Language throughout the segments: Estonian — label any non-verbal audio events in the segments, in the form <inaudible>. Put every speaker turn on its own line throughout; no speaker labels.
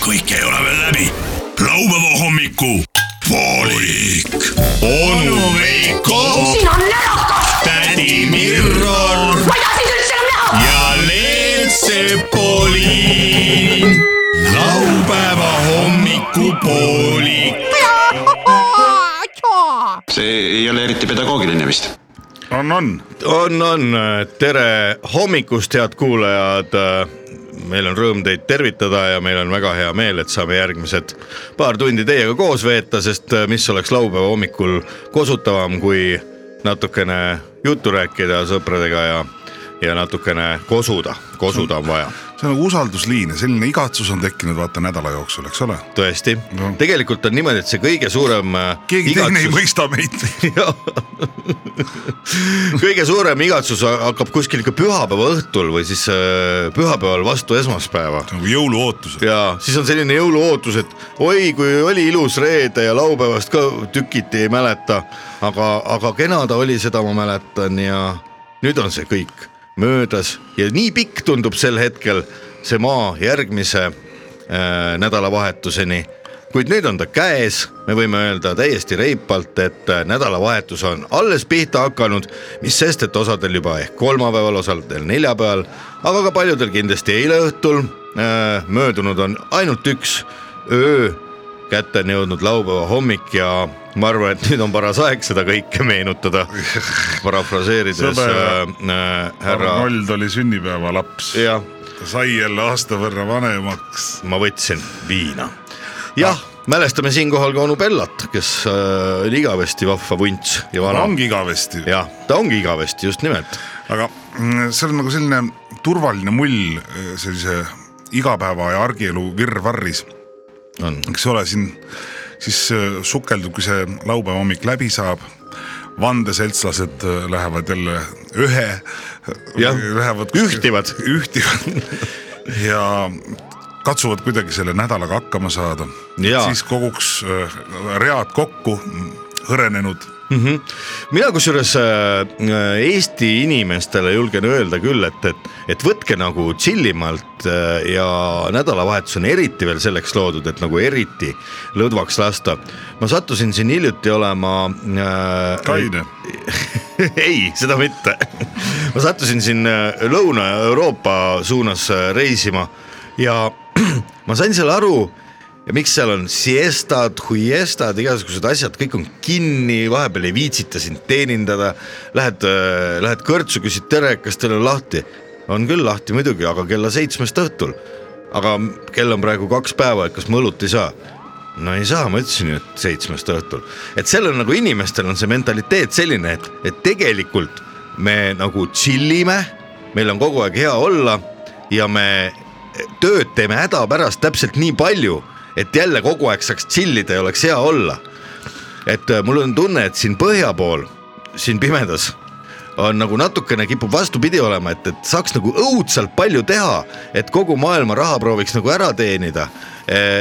kõik ei ole veel läbi . laupäeva hommiku poolik . onu Veiko ,
siin on närakas ,
tädi Mirro
ma ei taha sind üldse enam näha .
ja Leelsepoliin . laupäeva hommikupoolik .
see ei ole eriti pedagoogiline vist .
on , on .
on , on , Äh, tere hommikust , head kuulajad . meil on rõõm teid tervitada ja meil on väga hea meel , et saame järgmised paar tundi teiega koos veeta , sest äh, mis oleks laupäeva hommikul kosutavam , kui natukene juttu rääkida sõpradega ja , ja natukene kosuda , kosuda on vaja
see on nagu usaldusliin ja selline igatsus on tekkinud vaata nädala jooksul , eks ole .
tõesti
No.
no. , tegelikult on niimoodi , et see kõige suurem äh,
keegi igatsus. teine ei
igatsus-
mõista meid .
Jah. <laughs> kõige suurem igatsus hakkab kuskil ikka pühapäeva õhtul või siis äh, pühapäeval vastu esmaspäeva
nagu jõuluootused .
ja siis on selline jõuluootus , et oi , kui oli ilus reede ja laupäevast ka tükiti ei mäleta , aga , aga kena ta oli , seda ma mäletan ja nüüd on see kõik möödas ja nii pikk tundub sel hetkel see maa järgmise äh, nädalavahetuseni . kuid nüüd on ta käes , me võime öelda täiesti reipalt , et äh, nädalavahetus on alles pihta hakanud , mis sest , et osadel juba ehk kolmapäeval , osadel neljapäeval , aga ka paljudel kindlasti eile õhtul äh, möödunud on ainult üks öö , kätte on jõudnud laupäeva hommik ja ma arvan , et nüüd on paras aeg seda kõike meenutada . parafraseerides
Sõber.
äh, äh, härra ,
Arnold oli sünnipäevalaps .
jah ,
ta sai jälle aasta võrra vanemaks .
ma võtsin viina . jah , mälestame siinkohal ka onu Bellat , kes äh, oli igavesti vahva vunts ja vana .
ongi igavesti ,
jah , ta ongi igavesti , just nimelt .
aga mm, see on nagu selline turvaline mull eh, sellise igapäeva ja argielu virvarris
on ,
eks ole , siin siis äh, sukeldub , kui see laupäeva hommik läbi saab , vandeseltslased äh, lähevad jälle ühe ,
Jah,
lähevad
ühtivad.
ühtivad <laughs> ja katsuvad kuidagi selle nädalaga hakkama saada .
Jaa.
siis koguks äh, read kokku , hõrenenud ,
mina kusjuures äh, Eesti inimestele julgen öelda küll , et , et , et võtke nagu tšillimalt äh, ja nädalavahetus on eriti veel selleks loodud , et nagu eriti lõdvaks lasta . ma sattusin siin hiljuti olema äh, .
kaine .
<laughs> ei , seda mitte . ma sattusin siin äh, Lõuna-Euroopa suunas äh, reisima ja <clears throat> ma sain seal aru , miks seal on siestad , huiestad , igasugused asjad , kõik on kinni , vahepeal ei viitsita sind teenindada . Lähed , lähed kõrtsu , küsid tere , kas teil on lahti ? on küll lahti muidugi , aga kella seitsmest õhtul . aga kell on praegu kaks päeva , et kas ma õlut ei saa ? no ei saa , ma ütlesin ju , et seitsmest õhtul , et seal on nagu inimestel on see mentaliteet selline , et , et tegelikult me nagu chill ime , meil on kogu aeg hea olla ja me tööd teeme hädapärast täpselt nii palju , et jälle kogu aeg saaks chill ida ja oleks hea olla . et äh, mul on tunne , et siin põhja pool , siin pimedas on nagu natukene kipub vastupidi olema , et , et saaks nagu õudselt palju teha , et kogu maailma raha prooviks nagu ära teenida .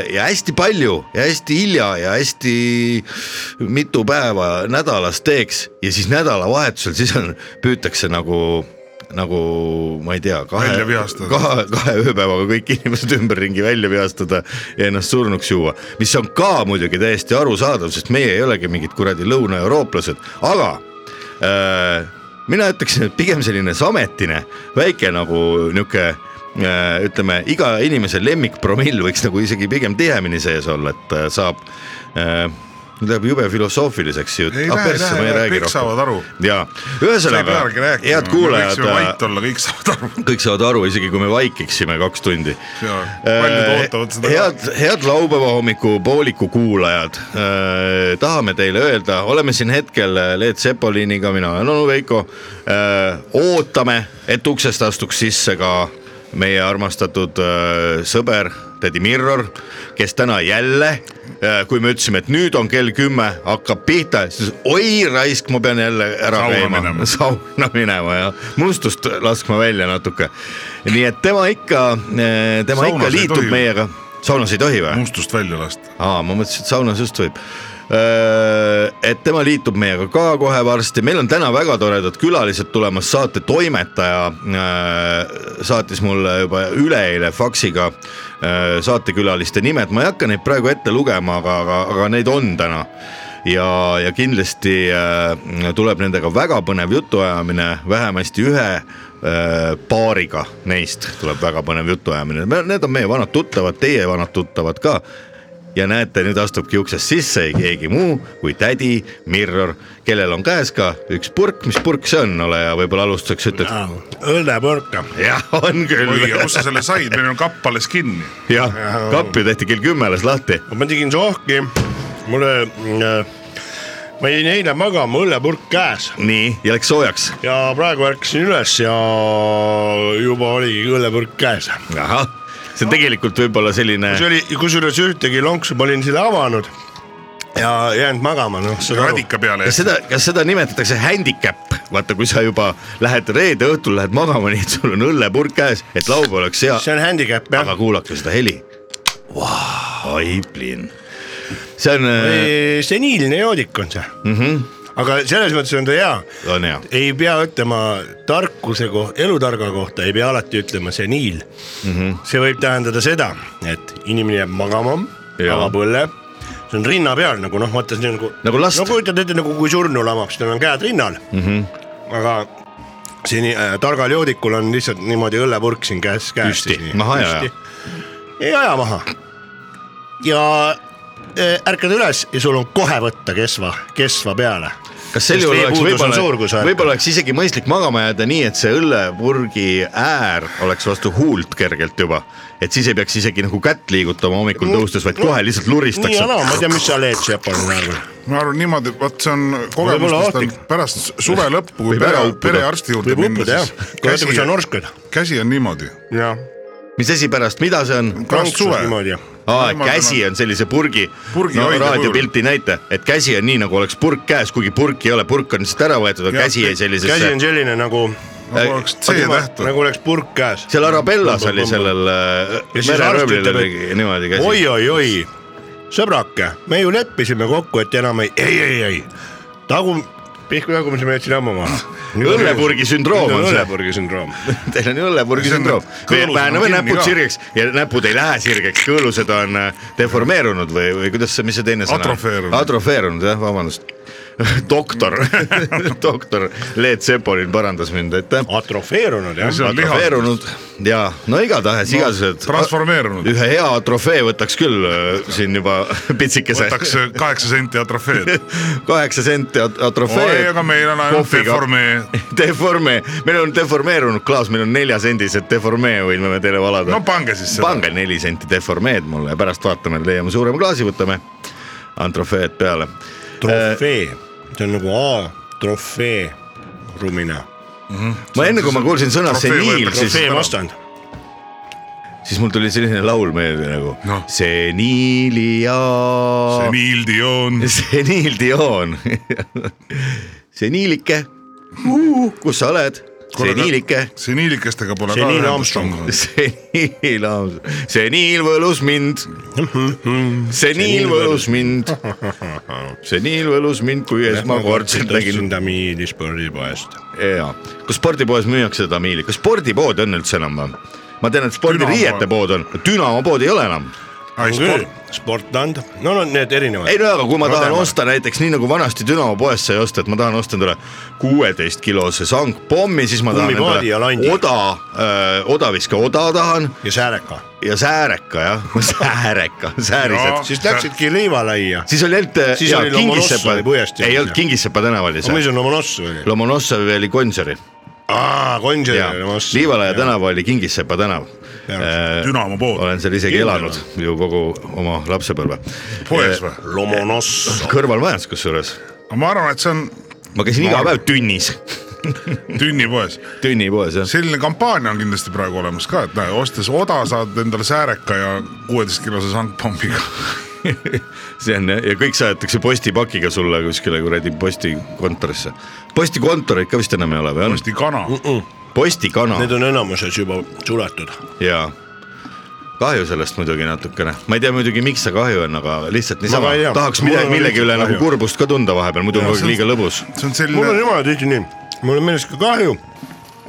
ja hästi palju ja hästi hilja ja hästi mitu päeva nädalas teeks ja siis nädalavahetusel , siis on , püütakse nagu , nagu ma ei tea , kahe
Välja , vihastada.
kahe , kahe ööpäevaga kõik inimesed ümberringi välja vihastada ja ennast surnuks juua . mis on ka muidugi täiesti arusaadav , sest meie ei olegi mingid kuradi lõunaeurooplased , aga äh, mina ütleksin , et pigem selline sametine , väike nagu nihuke äh, ütleme , iga inimese lemmikpromill võiks nagu isegi pigem tihemini sees olla , et äh, saab äh, , nüüd läheb jube filosoofiliseks ah, jutt .
ei lähe , ei lähe , kõik saavad aru .
ja
ei
ühesõnaga
peagi , rääkima .
head kuulajad äh,
võiksime , vait olla , kõik saavad aru .
kõik saavad aru , isegi kui me vaikiksime kaks tundi . Äh,
Jaa, paljud ootavad seda ka.
head , head laupäeva hommiku pooliku kuulajad . tahame teile öelda , oleme siin hetkel Leet Sepoliniga , mina olen onu Veiko . ootame , et uksest astuks sisse ka meie armastatud öö, sõber tädi Mirror , kes täna jälle , kui me ütlesime , et nüüd on kell kümme , hakkab pihta , siis oi raisk , ma pean jälle ära
Sauna
käima
minema.
<laughs> sauna minema ja mustust laskma välja natuke . nii et tema ikka , tema
Saunas
ikka
ei
liitub
tohi.
meiega , saunas ei tohi või ?
mustust välja lasta .
aa , ma mõtlesin , et saunas just võib . et tema liitub meiega ka kohe varsti , meil on täna väga toredad külalised tulemas , saate toimetaja öö, saatis mulle juba üleeile faksiga öö, saatekülaliste nimed , ma ei hakka neid praegu ette lugema , aga , aga , aga neid on täna ja , ja kindlasti öö, tuleb nendega väga põnev jutuajamine , vähemasti ühe öö, paariga neist tuleb väga põnev jutuajamine , need on meie vanad tuttavad , teie vanad tuttavad ka ja näete , nüüd astubki uksest sisse ei keegi muu kui tädi Mirror , kellel on käes ka üks purk , mis purk see on , ole hea , võib-olla alustuseks ütled .
Ah, õllepõrka .
jah , on
oi ,
küll
kus . sa selle said , meil on kapp alles kinni .
<laughs> jah , kappi tehti kell kümme alles lahti .
ma tegin sohki , mulle , ma jäin eile magama , õllepurk käes
nii , ja läks soojaks .
ja praegu ärkasin üles ja juba oligi õllepurk käes .
ahah , see on tegelikult võib-olla selline
see oli , kusjuures ühtegi lonksu ma olin selle avanud ja jäänud magama , noh .
radika peale
kas . seda , kas seda nimetatakse handicap , vaata , kui sa juba lähed reede õhtul lähed magama , nii et sul on õllepurk käes , et laupäev oleks hea .
see on handicap jah
aga . kuulake seda heli wow. . oi , plinn . see on , äh,
äh,
seniilne joodik on see mm .
Mhm.
-hmm. aga selles mõttes on ta hea .
on hea .
ei pea ütlema tarkuse kohta , elutarga kohta ei pea alati ütlema seniil mm .
Mhm.
-hmm. see võib tähendada seda , et inimene jääb magama ,
Jaa.
avab õlle , see on rinna peal nagu noh , vaata see on nagu .
Nagu last. Mhm.
no kujutad ette nagu kui surnu lamab , siis tal on käed rinnal mm . -hmm. aga seni äh, targal joodikul on lihtsalt niimoodi õllepurk siin käes , käes .
Püsti. Maha ei aja. .
ei aja maha . ja äh, ärkad üles ja sul on kohe võtta kesva , kesva peale .
kas sel juhul oleks võib-olla , võib-olla
võib-olla .
oleks isegi mõistlik magama jääda nii , et see õllepurgi äär oleks vastu huult kergelt juba , et siis ei peaks isegi nagu kätt liigutama hommikul tõustes , vaid kohe lihtsalt
nii
luristaks
ja . naa , ma ei tea , mis sa leed seal palun praegu .
ma arvan niimoodi , vot see on kogemustest on
ohtlik.
pärast suve lõppu , kui
Võib ära
pere
uppuda. ,
perearsti juurde
võib
minna ,
uppuda jah
siis ,
kui vaata , kui sa
käsi ,
norskad .
käsi on niimoodi .
jah .
mis asi pärast , mida see on ?
pärast suve ,
niimoodi jah .
Aa,
Normaalne
käsi on sellise purgi,
Purgi
no
hoidja
raadiopilti näite , et käsi on nii nagu oleks purk käes , kuigi purk ei ole , purk on lihtsalt ära võetud , aga
Jah,
käsi jäi
käsi
sellisesse
on . selline nagu ,
nagu oleks C-täht .
nagu oleks purk käes .
seal Arabellas oli . sellel äh,
Ja siis arst
mereröövlil
ütleb,
oli niimoodi käsi .
oi-oi-oi , sõbrake , me ju leppisime kokku , et enam ei , ei , ei , ei , tagu , pihku tagumise me jätsime ammu maha .
Õllepurgi sündroom on see.
õllepurgi sündroom .
<laughs> Teil on õllepurgi
See on
sündroom
need kõõlused .
me
on
vääname
kinni
näpud
ka.
sirgeks ja näpud ei lähe sirgeks , kõõlused on äh, deformeerunud või , või kuidas see , mis see teine sõna
Atrofeerunud.
atrofeerunud jah , vabandust . <laughs> doktor , <laughs> doktor Leet Sepolin parandas mind , aitäh .
atrofeerunud jah
Oh, See . on lihasest.
atrofeerunud ja no igatahes no, igasugused .
transformeerunud.
ühe hea atrofee võtaks küll äh, siin juba <laughs> pitsikese .
võtaks kaheksa senti
<laughs>
atrofeed .
<laughs> kaheksa senti at-
oi ,
atrofee .
aga meil on ainult
Kohviga.
deformee .
Deformee , meil on deformeerunud klaas , meil on neljasendised deformee , võime me teile valada
no pange siis seda .
pange neli senti deformeed mulle ja pärast vaatame , leiame suurema klaasi , võtame antrofeed peale .
trofee ,
Äh.
see on nagu A trofee rumina .
ma enne , kui ma kuulsin sõna
Trofee
seniil ,
võetakse
siis ,
trofee vastand .
siis mul tuli selline laul meelde nagu no.
Noh.
seniili ja
seniil Dion .
seniil Dion . <laughs> seniilike , kus sa oled ? seniilike .
seniilikestega pole ka
Seniil
ühendust
Armstrong.
<laughs>
olnud .
seniil , seniil võlus mind . seniil võlus mind . seniil võlus mind , kui
nagu
esmakordselt nägin
sind Amiidi spordipoest .
jaa , kas spordipoes müüakse tamiili , kas spordipood on üldse enam või ? ma tean , et spordiriiete
Dünamo.
pood on , Dünamo pood ei ole enam .
ai , sport ,
Sportland , no no need erinevad
ei . no aga kui ma tahan
tean.
osta näiteks nii nagu vanasti Dünamo poest sai osta , et ma tahan osta endale kuueteist kilose sangpommi , siis ma tahan
Kummipaadi ja landi.
endale oda , odaviska oda tahan
ja sääreka .
ja sääreka jah , <laughs> sääreka ,
Jaa.
säärised .
siis läksidki Liivalaia .
siis oli ainult
Siis
jaa,
oli Lomonossovi
Kingissepa-
puiestee.
ei olnud Kingissepa tänaval
aga mis
ise ,
on Lomonossovi oli ?
Lomonossovi oli Gonsiori
aa , Gonsiori
ja
oli Lomonossovi .
Liivalaia tänav oli Kingissepa tänav Äh,
Dünamo pood ,
olen seal isegi
Kindel
elanud ju kogu oma lapsepõlve .
poes või ?
Lomonossov .
kõrvalmajas kusjuures ,
ma arvan , et see on
ma käisin iga päev tünnis ,
tünnipoes .
tünnipoes jah .
selline kampaania on kindlasti praegu olemas ka , et näe , ostes oda , saad endale sääreka ja kuueteistkilose sangpommiga .
<laughs> see on jah, ja kõik saadetakse postipakiga sulle kuskile kuradi postikontorisse . postikontoreid ka vist enam ei ole või on ?
osti kana .
postikana
Need on enamuses juba suletud .
ja kahju sellest muidugi natukene , ma ei tea muidugi , miks see kahju on , aga lihtsalt niisama
ka ei tea.
tahaks
Mul
midagi
on ,
millegi üle
lihtsalt
nagu
kahju.
kurbust ka tunda vahepeal , muidu on kogu aeg liiga
<laughs>
lõbus .
see on
mul on
selline ,
jumala tihti nii , mul on millestki kahju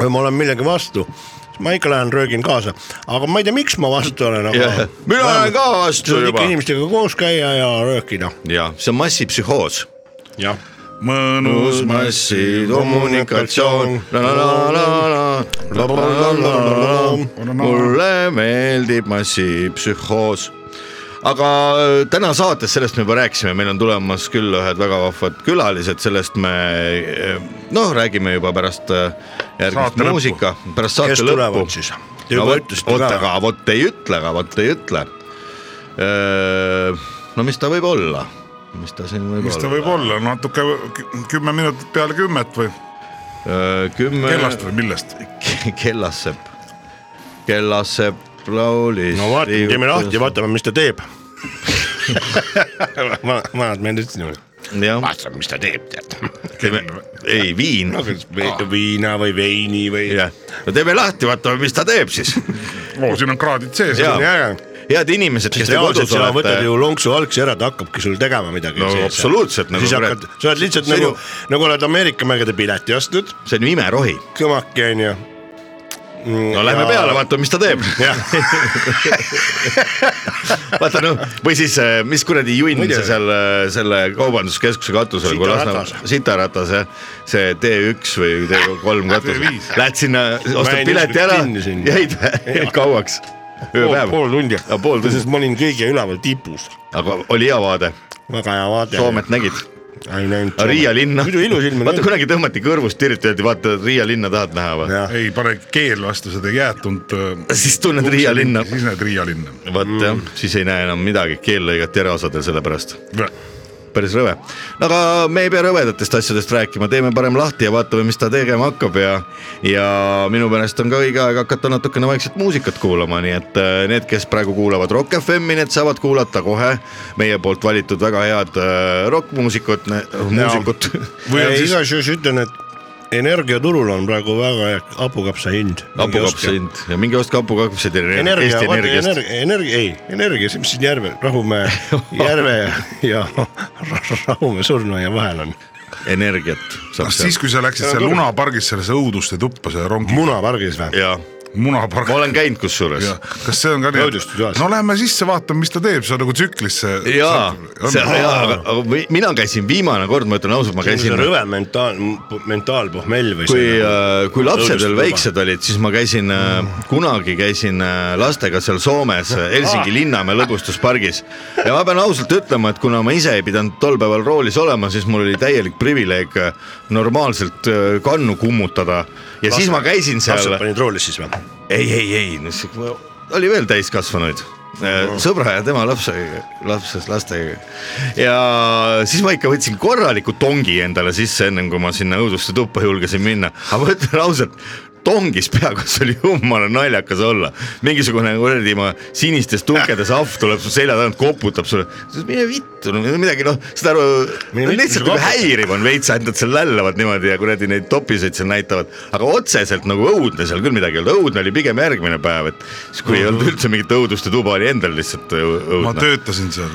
või ma olen millegi vastu , siis ma ikka lähen röögin kaasa , aga ma ei tea , miks ma vastu olen , aga .
mina olen ka vastu
tuleb
juba
ikka . inimestega koos käia ja röökida .
ja see on massipsühhoos .
jah .
mõnus mass .
massikommunikatsioon.
mulle meeldib massipsühhoos . aga äh, täna saates sellest me juba rääkisime , meil on tulemas küll ühed väga vahvad külalised , sellest me noh , räägime juba pärast äh,
Saate
järgmist
lõppu.
muusika , pärast saate
kes
lõppu
tulevad . siis ? Te
no
juba
vot ,
ütlesite
oota ,
ka .
aga vot ei ütle , aga vot ei ütle . no mis ta võib olla , mis ta siin võib
mis ta võib
olla ?
olla , natuke kü- kümme minutit peale kümmet või
Äh, kümme
kellast või millest ?
kellassepp , kellassepp laulis .
no vaatame , teeme lahti ja . vaatame , mis ta <laughs> teeb . vanad mehed ütlesid niimoodi .
jah ,
vaatame , mis ta teeb , tead .
teeme , ei viin , Ah.
viina või veini või .
jah , no teeme lahti , vaatame , mis ta teeb siis .
oo , siin on kraadid sees .
Jaa.
jaa ,
head inimesed , kes te
reaalselt
kodus
sa võtad
olete
ju lonksu algsi ära , ta hakkabki sul tegema midagi .
No absoluutselt, nagu
nagu . siis
praegu.
hakkad , sa oled lihtsalt
See
nagu
ju- ,
nagu oled Ameerika mägede pileti ostnud ,
see on ju imerohi ,
kõmaki onju .
no lähme peale , vaatame , mis ta teeb .
jah ,
vaata noh , või siis eh, mis kuradi junn
Muidu.
see seal eh, selle kaubanduskeskuse katusel , kui Lasnamäe
Sitaratas. ,
Sitaratas jah , see T1 või T3 katus
T5. ,
lähed sinna , ostad
jäin
pileti
ükskord
ära
kinni , sinna.
jäid kauaks , ööpäev ,
pool tundi
Ja pool tundi.
sest ma olin kõige üleval tipus ,
aga oli hea vaade ,
väga hea vaade .
Soomet nägid ,
ei näinud .
Riia linna ,
muidu ilus ilm on
vaata . kunagi tõmmati kõrvust tiriti , öeldi vaata Riia linna tahad näha või ,
jah ,
ei pane keel vastu seda jäätunud .
siis tunned Riia linna ,
siis Mm. näed Riia linna .
vot jah , siis ei näe enam midagi , keel lõigati ära osadel selle pärast päris rõve . no aga me ei pea rõvedatest asjadest rääkima , teeme parem lahti ja vaatame , mis ta tegema hakkab ja , ja minu meelest on ka õige aeg hakata natukene vaikselt muusikat kuulama , nii et äh, need , kes praegu kuulavad Rock FM-i , need saavad kuulata kohe meie poolt valitud väga head äh, rokkmuusikut , muusikut .
Või on siis-
igaks juhuks ütlen , et energiaturul on praegu väga hea hapukapsa hind .
hapukapsa . hind ja minge ostke hapukapsaid
energia ,
Eesti
vaata
Energiast .
energia , energia , ei , energia , see , mis siin järve , Rahumäe
<laughs>
järve ja, ja Rahumäe surnuaia vahel on .
energiat saab
siis ,
sealt
kui sa läksid seal lunapargis sellesse õuduste tuppa , selle rongi ,
munapargis või ?
ja
munapark
ma . olen käinud kusjuures
Ja, kas see on ka nii
Õudustustoas. ?
no lähme sisse , vaatame , mis ta teeb , see on nagu tsüklisse .
jaa , jaa , aga aga mi- mina käisin viimane kord , ma ütlen ausalt , ma
see
käisin
on rõve mentaal , mentaalpohmell või
kui äh,
see ,,
kui lapsed veel
õudustuba.
väiksed olid , siis ma käisin äh, kunagi käisin äh, lastega seal Soomes äh,
Ah.
Helsingi linnamäe lõbustuspargis ja ma pean ausalt ütlema , et kuna ma ise ei pidanud tol päeval roolis olema , siis mul oli täielik privileeg äh, normaalselt äh, kannu kummutada ja siis ma käisin
lapsed
seal , Ah,
panid roolis siis või ?
ei , ei , ei , oli veel täiskasvanuid äh, sõbra ja tema lapse , lapses lastega ja siis ma ikka võtsin korraliku tongi endale sisse , ennem kui ma sinna õuduste tuppa julgesin minna , aga ma ütlen ausalt , tongis peaaegu , see oli jumala naljakas olla . mingisugune kuradi ma sinistes tukkedes ahv tuleb su selja tagant , koputab sulle , mine vittu , no midagi noh , saad aru ,
Mine vittu,
lihtsalt
see
nagu
koputab.
häiriv on veits , ainult nad seal lällavad niimoodi ja kuradi neid topiseid seal näitavad , aga otseselt nagu õudne seal küll midagi ei olnud , õudne oli pigem järgmine päev , et siis kui ei olnud üldse mingit õuduste tuba , oli endal lihtsalt õu-
Mhm. ma
õudne .
töötasin seal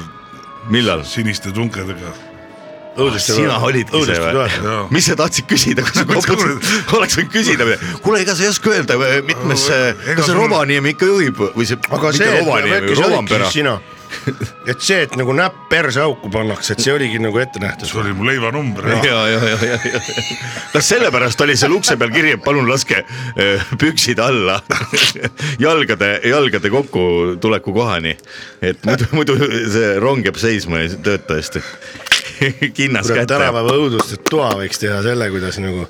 millal ?
siniste tunkedega .
sina olidki see või ?
Jaa. Nagu
mis sa tahtsid küsida , kui sa koputasid , oleks võinud küsida , kuule , ega sa ei oska öelda , mitmes ,
Ega
kas see
sul-
Rovaniemi ikka juhib või see ,
aga
mitte
see ,
Rovaniemi , Rovanpera .
sina , et see , et nagu näpp perse auku pannakse , et see oligi nagu ette nähtud
see . oli mu leivanumber .
ja , ja , ja , ja , ja , kas sellepärast oli seal ukse peal kiri , et palun laske öö, püksid alla <laughs> jalgade , jalgade kokkutuleku kohani , et muidu , muidu see rong jääb seisma ja ei tööta hästi <laughs> kinnas
kurat ,
kätte .
tänapäeva õudust , et toa võiks teha selle , kuidas nagu ,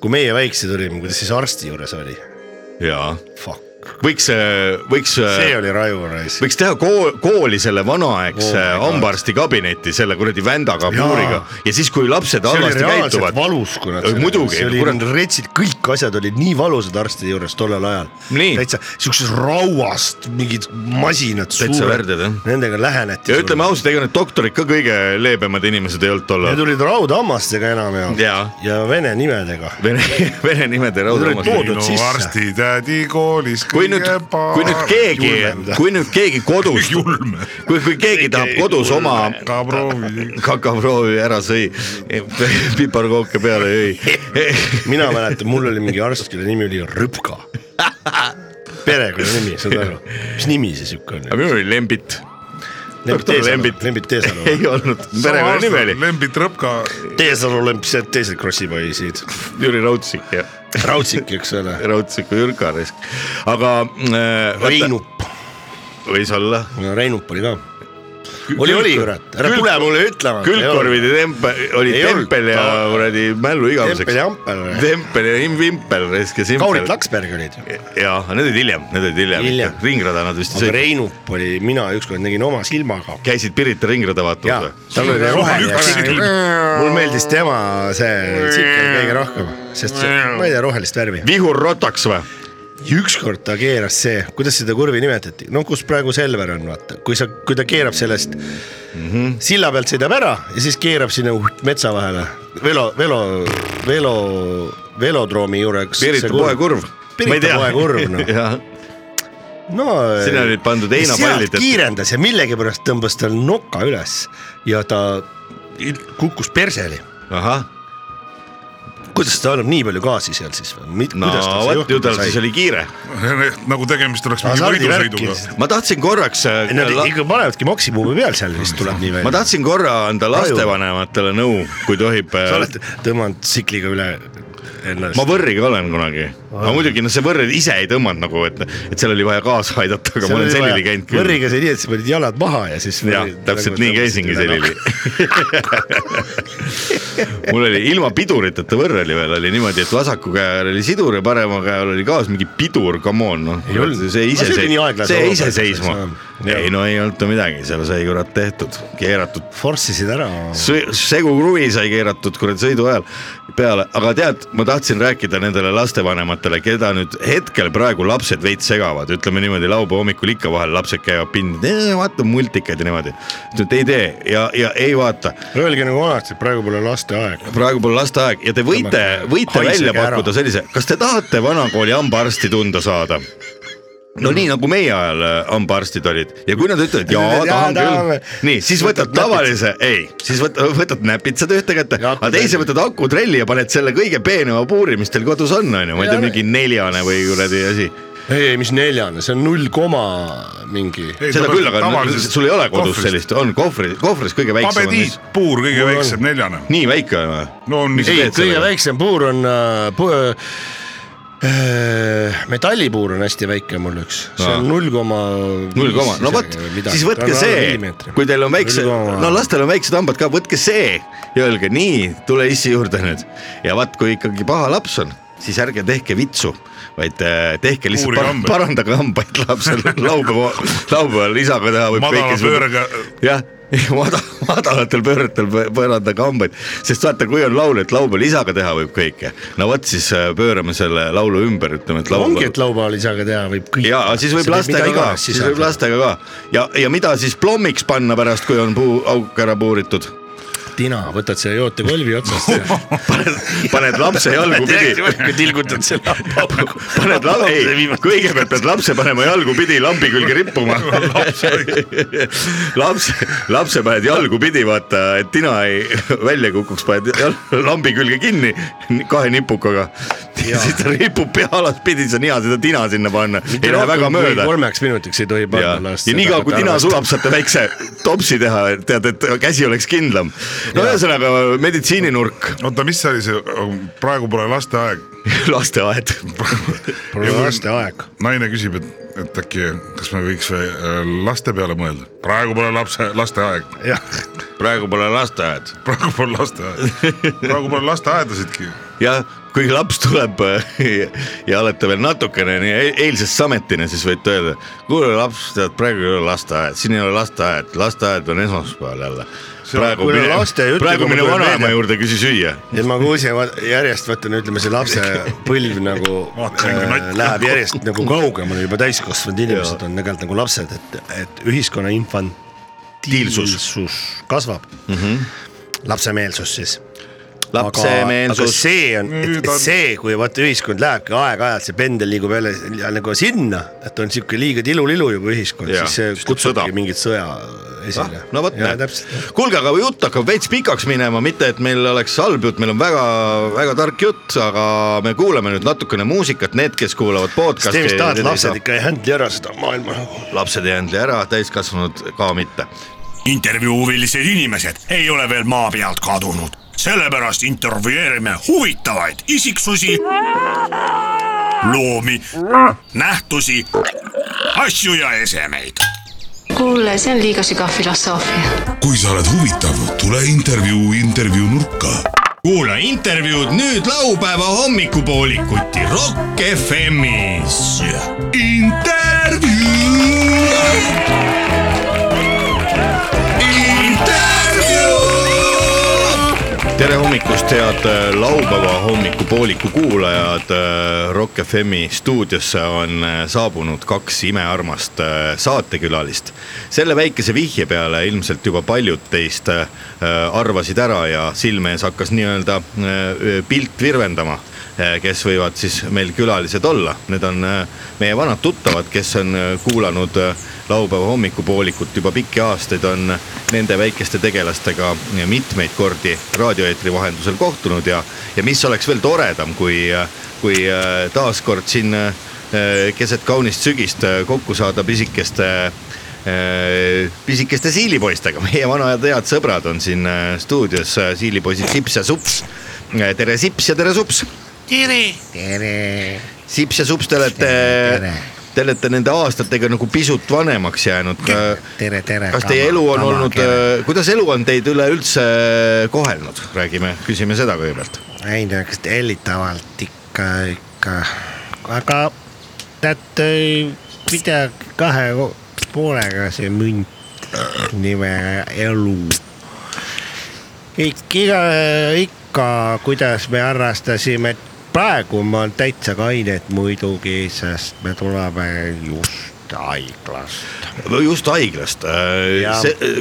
kui meie väiksed olime , kuidas siis arsti juures oli .
jaa ,
Fuck ,
võiks , võiks .
see oli raju raisk .
võiks teha kool , kooli selle vanaaegse
Oh my
oh
God.
hambaarsti kabineti selle kuradi vändaga , puuriga ja siis , kui lapsed
see oli
halvasti
reaalselt
käituvad ,
valus , kurat .
Muidugi,
see oli
kurat. ,
retsid , kõik asjad olid nii valusad arsti juures tollel ajal .
Nii.
täitsa siuksest rauast mingid masinad .
Täitsa värdjad, jah.
Nendega läheneti .
ja ütleme . ausalt , ega need doktorid ka kõige leebemad inimesed ei olnud tol
Need
ajal .
olid raudhammastega enamjaolt
Jaa.
ja vene nimedega .
Vene , <laughs> vene nimede
Need olid
raudamas .
toodud
minu
sisse.
arstitädi koolis
kui nüüd , kui nüüd keegi , kui nüüd keegi kodus , <laughs>
julm ,
kui , kui keegi tahab kodus oma
ka proovi .
kakaproovi ära sõi , piparkooke peale jõi ,
mina mäletan , mul oli mingi arst , kelle nimi oli
<laughs>
Rõpka . perekonnanimi , saad aru , mis nimi see siuke
aga
on ?
minul oli Lembit , doktor Lembit.
Lembit Teesalu .
ei olnud , perekonnanimi oli
Lembit Rõpka ,
<laughs> Teesalu Lemp , see teised krossipoisid ,
Jüri Raudsik ja
Raudsik , eks ole .
Raudsiku Jürka risk , aga äh, .
Reinup ,
võis olla .
Reinup oli ka . oli , oli , kurat , ära tule mulle ütlema .
külgkorvide tempel , oli
Ei olnud.
tempel ja
Ta-
kuradi mällu
tempel ja
igaveseks .
ampel .
tempel ja im- vimpel , risk ja simpel .
Kaurit Laksberg olid ju .
ja need olid hiljem , need olid hiljem,
Hiljem.
hiljem. , ringrada nad vist
aga
sõid ,
Reinup oli , mina ükskord nägin oma silmaga .
käisid Pirita ringrada
jaa
vaatamas , või ?
tal oli roheline
Üks
silm . mul meeldis tema see tsikkel kõige rohkem , sest see, ma ei tea , rohelist värvi .
Vihur Rotaks või ?
ükskord ta keeras see , kuidas seda kurvi nimetati , no kus praegu Selver on , vaata , kui sa , kui ta keerab sellest mm -hmm. silla pealt sõidab ära ja siis keerab sinna uhht metsa vahele velo , velo , velo , velodroomi juures .
Pirita poekurv .
Pirita poekurv ,
<laughs>
noh .
jah ,
no
Sinna olid pandud
sealt
heinapallid, et-
kiirendas ja millegipärast tõmbas tal noka üles ja ta kukkus perseli .
ahah ,
kuidas ta annab nii palju gaasi seal siis või ?
no vot , ju tal siis oli kiire .
nagu tegemist oleks mingi
Hasardivärki
võidusõiduga .
lihtsalt.
ma tahtsin korraks .
Nad ikka panevadki maksimumi peal seal vist tuleb nii
ma
välja .
tahtsin korra anda lastevanematele nõu , kui tohib .
sa oled tõmmanud tsikliga üle ennast
Äh, ma . võrriga olen kunagi , aga muidugi noh , see võrr ise ei tõmmanud nagu , et , et seal oli vaja kaasa aidata , aga ma olen selili käinud küll .
võrriga sai nii , et sa panid jalad maha ja siis .
jah , täpselt
nagu
nii käisingi selili . mul oli ilma piduriteta võrr oli veel , oli niimoodi , et vasaku käe all oli sidur ja parema käe all oli kaas mingi pidur , come on noh .
Ei olnud.
see
No
ise
see oli nii
seis- ,
aeglase
see
looga,
ise
et
seisma
saab. . Jah.
ei no ei olnud ta midagi , seal sai kurat tehtud , keeratud
Forssisid ära .
Sõ- segu kruvi sai keeratud kurat sõidu ajal peale , aga tead , ma tahtsin rääkida nendele lastevanematele , keda nüüd hetkel praegu lapsed veits segavad , ütleme niimoodi , laupäeva hommikul ikka vahel lapsed käivad pindi , vaata multikaid ja niimoodi . et ei tee ja , ja ei vaata ,
Öelge nagu vanasti , et praegu pole lasteaeg .
praegu pole lasteaeg ja te võite , võite
Haisege
välja
ära.
pakkuda sellise , kas te tahate vanakooli hambaarsti tunda saada ? no nii nagu meie ajal äh, hambaarstid olid ja kui nad ütlevad jaa
Jaa, ,
tahan küll
tahame. ,
nii siis võtad
Võtad
tavalise , ei , siis võtad , võtad näpitsad ühte kätte ,
Ja
aga teise
akutrelli.
võtad akutrelli ja paned selle kõige peenema puuri , mis teil kodus on , onju , ma ei tea , mingi neljane või kuradi asi .
ei , mis neljane , see on null koma mingi .
seda küll , aga sul ei ole kodus . sellist , on kohvri , kohvris kõige väiksem on
Pabediit
vist .
puur kõige väiksem , neljane .
nii väike on või ?
no on .
Ei,
ei ,
teed
kõige
sellega?
väiksem puur on äh, pu, äh, metallipuur on hästi väike mul üks , see
Aa.
on null koma .
null koma , no vot , siis võtke see , kui teil on väikse , no lastel on väiksed hambad ka , võtke see ja öelge nii , tule issi juurde nüüd ja vaat , kui ikkagi paha laps on , siis ärge tehke vitsu , vaid äh, tehke lihtsalt
Uurige
par
hambaid.
parandage hambaid lapsel laupäeva , laupäeval isaga teha võib
Madala
kõike
pöörega- .
jah , <laughs> madal , madalatel pööretel pö- parandage hambaid , sest vaata , kui on laul , et laupäeval isaga teha võib kõike , no vot siis äh, pöörame selle laulu ümber , ütleme , et
ongi ,
laupäeval
et laupäeval isaga teha võib kõik .
ja siis võib lastega ka , siis võib lastega ka ja , ja mida siis plommiks panna pärast , kui on puu auk ära puuritud ?
tina , võtad selle jootekolvi otsast ja
paned , paned lapse jalgupidi ,
tilgutad selle hambapaugu .
paned la- , ei , kõigepealt pead lapse panema jalgupidi lambi külge rippuma . lapse , lapse paned jalgupidi , vaata , et tina ei välja ei kukuks , paned jal, lambi külge kinni kahe nipukaga . ja siis ta ripub pea alaspidi , see on hea seda tina sinna panna , <laughs> ei lähe väga mööda
kolmeks minutiks ei tohi
ja,
panna last .
ja niikaua kui tina . sulab , saate väikse topsi teha , tead , et käsi oleks kindlam . no ühesõnaga meditsiininurk ,
oota , mis see oli see , praegu pole lasteaeg .
lasteaed .
pole lasteaeg .
naine küsib , et , et äkki , kas me võiks või, äh, laste peale mõelda . praegu pole lapse , lasteaeg ,
jah ,
praegu pole lasteaed .
praegu pole lasteaed , praegu pole lasteaedasidki .
jah , kui laps tuleb ja, ja olete veel natukene nii e- eilsest sametine , siis võite öelda , kuule laps , tead praegu ei ole lasteaed , siin ei ole lasteaed , lasteaed on esmaspäeval jälle . praegu
kui
mine
laste ei , ütle,
praegu
kui ma
mine
tulen
vanaema
meelde.
juurde , küsi süüa .
et ma kuulsin va- järjest vaata no ütleme , see lapse põlv nagu
Vaata, mingi
äh,
nott.
läheb järjest nagu kaugemale , juba täiskasvanud inimesed on tegelikult nagu lapsed , et , et ühiskonna
Mhm.
infantiilsus kasvab mm . -hmm. lapsemeelsus siis
lapse
aga
meelsus .
see on ,
Nüüd
et
on-
see , kui vaata ühiskond lähebki aeg-ajalt , see pendel liigub jälle nagu sinna , et on sihuke liiga tilulilu juba ühiskond ,
Jaa,
siis see
siis tuleb sõda. Ah,
kutsubki mingit sõja esile .
no vot , näed
täpselt .,
kuulge , aga jutt hakkab veits pikaks minema , mitte et meil oleks halb jutt , meil on väga-väga tark jutt , aga me kuulame nüüd natukene muusikat , need , kes kuulavad
kas te
podcast'i .
vist tahate , lapsed ikka ei händli ära seda maailma nagu .
lapsed ei händle ära , täiskasvanud ka mitte .
intervjuu huvilised inimesed ei ole veel maa pealt kadunud , sellepärast intervjueerime huvitavaid isiksusi , loomi , nähtusi , asju ja esemeid .
kuule , see on liiga sügav filosoofia .
kui sa oled huvitav , tule intervjuu intervjuu nurka .
kuula intervjuud nüüd laupäeva hommikupoolikuti Rock FM-is .
intervjuu . intervjuu .
tere hommikust , head äh, laupäeva hommikupooliku kuulajad . Rock FM-i stuudiosse on äh, saabunud kaks imearmast äh, saatekülalist . selle väikese vihje peale ilmselt juba paljud teist äh, arvasid ära ja silme ees hakkas nii-öelda äh, pilt virvendama , eh, kes võivad siis meil külalised olla . Need on äh, meie vanad tuttavad , kes on äh, kuulanud äh, laupäeva hommikupoolikut juba pikki aastaid , on eh, nende väikeste tegelastega eh, mitmeid kordi raadioeetri vahendusel kohtunud ja , ja mis oleks veel toredam , kui , kui äh, taaskord siin äh, keset kaunist sügist äh, kokku saada pisikeste äh, pisikeste siilipoistega , <laughs> meie vanad head sõbrad on siin äh, stuudios , siilipoisid Sips ja Sups . tere , Sips ja tere , Sups Sips ja Sups , te olete , te olete nende aastatega nagu pisut vanemaks jäänud .
tere , tere .
kas teie elu on olnud ,? kuidas elu on teid üleüldse kohelnud , räägime , küsime seda kõigepealt .
ei no eks tellitavalt ikka , ikka , aga tead , midagi kahe ko- poolega see münt nime elu . kõik iga , ikka , kuidas me harrastasime , praegu ma olen täitsa kained muidugi , sest me tuleme just haiglast .
just haiglast ,
Jaa.